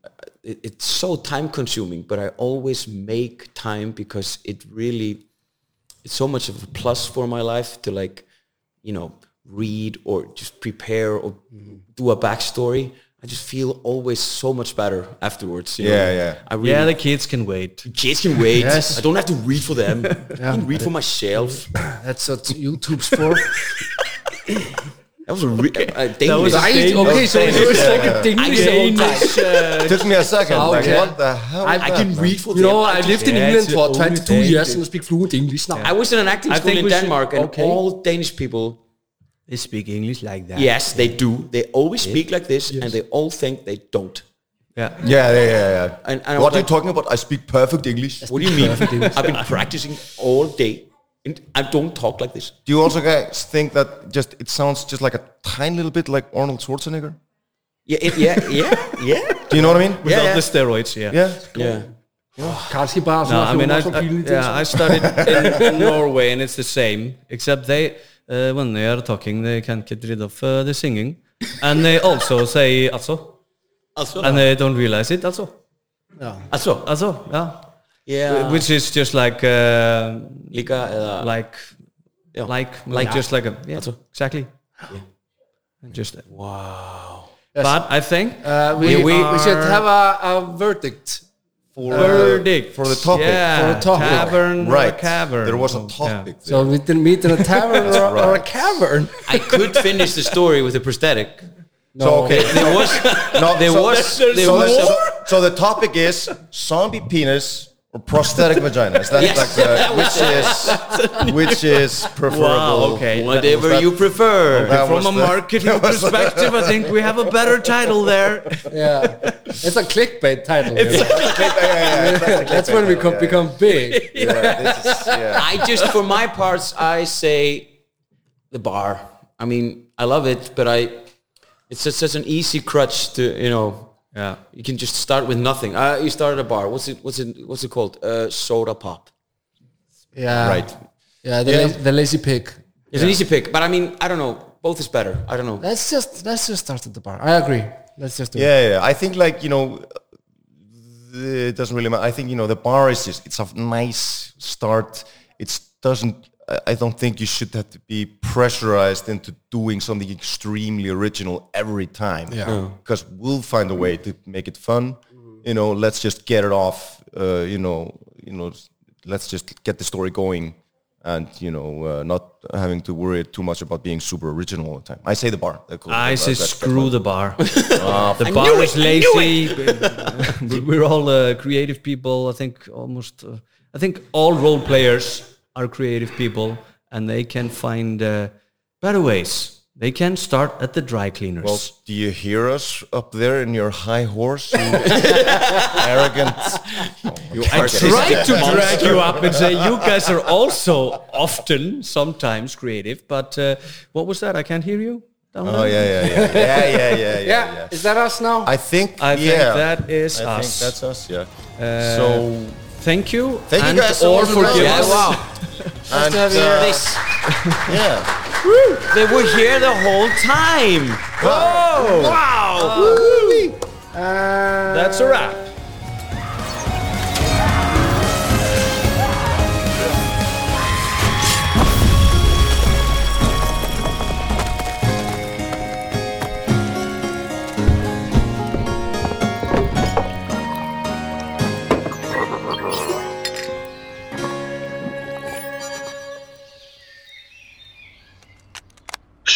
Speaker 6: it, it's so time consuming, but I always make time because it really, it's so much of a plus for my life to like, you know, read or just prepare or do a backstory. I just feel always so much better afterwards. you know?
Speaker 2: Yeah, yeah.
Speaker 6: I really
Speaker 1: Yeah, the kids can wait.
Speaker 6: kids can wait.
Speaker 3: Yes.
Speaker 6: I don't have to read for them. I can read for myself.
Speaker 3: That's what YouTube's for.
Speaker 6: That was a re- uh,
Speaker 1: was
Speaker 6: dangerous.
Speaker 1: a
Speaker 3: right? Okay, so it was like a Danish the whole time.
Speaker 1: Danish, uh,
Speaker 2: It took me a second. Like,
Speaker 3: Okay.
Speaker 2: what the hell?
Speaker 6: I,
Speaker 2: was
Speaker 6: I
Speaker 2: that,
Speaker 6: can
Speaker 2: man?
Speaker 6: read for
Speaker 3: You
Speaker 6: them.
Speaker 3: know,
Speaker 6: I
Speaker 3: I
Speaker 6: can
Speaker 3: lived in
Speaker 1: Yeah,
Speaker 3: England
Speaker 1: it's
Speaker 3: for
Speaker 1: the only
Speaker 3: 22
Speaker 1: thing
Speaker 3: years
Speaker 1: that-
Speaker 3: and speak fluent English now.
Speaker 6: I was in an acting
Speaker 1: I
Speaker 6: school
Speaker 1: think
Speaker 6: in
Speaker 1: we should-
Speaker 6: Denmark, and
Speaker 1: okay.
Speaker 6: all Danish people,
Speaker 1: they speak English like that.
Speaker 6: yes, they do. They always speak like this, and they all think they don't.
Speaker 1: Yeah.
Speaker 2: Yeah, yeah, yeah. yeah.
Speaker 6: And- and
Speaker 2: what are
Speaker 6: I was
Speaker 2: you
Speaker 6: like-
Speaker 2: talking about? I speak perfect English.
Speaker 6: What do you mean? I've been practicing all day, and I don't talk like this.
Speaker 2: Do you also guys think that just it sounds just like a tiny little bit like Arnold Schwarzenegger?
Speaker 6: Yeah, it, yeah, yeah, yeah,
Speaker 2: Do you know what I mean?
Speaker 1: Without
Speaker 6: yeah.
Speaker 1: the steroids, yeah.
Speaker 2: Yeah.
Speaker 6: yeah.
Speaker 3: Kannski bara
Speaker 1: No,
Speaker 3: svona
Speaker 1: I mean, I, I, yeah, I studied in, in Norway and it's the same, except they, uh, when they are talking, they can't get rid of uh, the singing. And they also say also,
Speaker 6: Also,
Speaker 1: and they don't realize it also.
Speaker 6: also,
Speaker 1: Also, yeah.
Speaker 6: Yeah.
Speaker 1: Which is just like uh,
Speaker 6: Líka eða-
Speaker 1: like like
Speaker 6: Like.
Speaker 1: just like a yeah,
Speaker 6: That's all.
Speaker 1: exactly. And Just wow. But I think
Speaker 3: Uh, we,
Speaker 1: here
Speaker 3: we, should
Speaker 1: are.
Speaker 3: have a, a verdict.
Speaker 2: for,
Speaker 1: Verdict.
Speaker 2: for the topic.
Speaker 1: Yeah,
Speaker 3: For the topic.
Speaker 1: Tavern or
Speaker 2: Right.
Speaker 1: cavern.
Speaker 2: There was a
Speaker 1: Yeah.
Speaker 2: topic.
Speaker 3: So we didn't meet in a tavern or, or a
Speaker 2: right.
Speaker 3: cavern.
Speaker 6: I could finish the story with a prosthetic.
Speaker 2: So okay,
Speaker 6: Oh. There was
Speaker 2: no,
Speaker 6: there
Speaker 2: so
Speaker 6: was
Speaker 2: the-
Speaker 6: there
Speaker 2: so,
Speaker 6: was
Speaker 2: the,
Speaker 6: a,
Speaker 2: so the topic is zombie penis or prosthetic vagina. Is that
Speaker 6: Yes.
Speaker 2: like the, which is which is preferable?
Speaker 1: Wow, okay.
Speaker 6: whatever
Speaker 2: that-
Speaker 6: you prefer.
Speaker 2: That
Speaker 1: From
Speaker 2: was
Speaker 1: a
Speaker 2: the-
Speaker 1: marketing perspective, I think we have a better title there.
Speaker 3: Yeah. It's a clickbait title. you know.
Speaker 2: Yeah, yeah, yeah, that's the
Speaker 3: That's
Speaker 2: clickbait
Speaker 3: when we
Speaker 2: title,
Speaker 3: co-
Speaker 2: yeah,
Speaker 3: become big.
Speaker 2: yeah. Yeah, this is- yeah.
Speaker 6: I just, for my parts, I say the bar. I mean, I love it, but I, it's just such an easy crutch to, you know,
Speaker 1: Yeah.
Speaker 6: you can just start with nothing. Uh, you start at a bar. What's it? What's it? What's it called? Uh, soda pop.
Speaker 3: Yeah.
Speaker 2: Right.
Speaker 3: Yeah, the, la- the lazy pig.
Speaker 6: It's an easy pick, but I mean, I don't know. Both is better. I don't know.
Speaker 3: Let's just let's just start at the bar. I agree. Let's just do it.
Speaker 2: Yeah, yeah. I think like you know, the- it doesn't really matter. I think you know the bar is just, it's a nice start. It doesn't. I- I don't think you should have to be pressurized into doing something extremely original every time.
Speaker 3: Yeah. No.
Speaker 2: Because we'll find a way to make it fun. You know, let's just get it off. Uh, you know, you know, s- let's just get the story going. And you know, uh, not having to worry too much about being super original all the time. I say the bar.
Speaker 1: I say screw the bar. the
Speaker 6: I
Speaker 1: bar
Speaker 6: knew
Speaker 1: is
Speaker 6: it, I knew
Speaker 1: lazy. We're all uh, creative people. I think almost. Uh, I think all role players are creative people, and they can find uh, better ways. They can start at the dry cleaners.
Speaker 2: Well, do you hear us up there in your high horse? You arrogant. Oh,
Speaker 6: You
Speaker 1: I tried to drag you up and say you guys are also often, sometimes creative. But uh, what was that? I can't hear you. Down
Speaker 2: Oh, yeah, yeah, yeah. Yeah, yeah, yeah, yeah. yeah.
Speaker 3: Is that us now?
Speaker 2: I think,
Speaker 1: I think
Speaker 2: yeah.
Speaker 1: that is
Speaker 2: I
Speaker 1: us.
Speaker 2: think that's us, yeah. so,
Speaker 1: Thank you.
Speaker 2: Thank you
Speaker 1: and
Speaker 2: guys so
Speaker 1: Or
Speaker 2: much for
Speaker 1: forgive us.
Speaker 2: coming. Yes.
Speaker 6: wow.
Speaker 2: and,
Speaker 3: have you.
Speaker 2: uh,
Speaker 6: This-
Speaker 2: yeah.
Speaker 6: they were here the whole time. Wow.
Speaker 1: That's a wrap.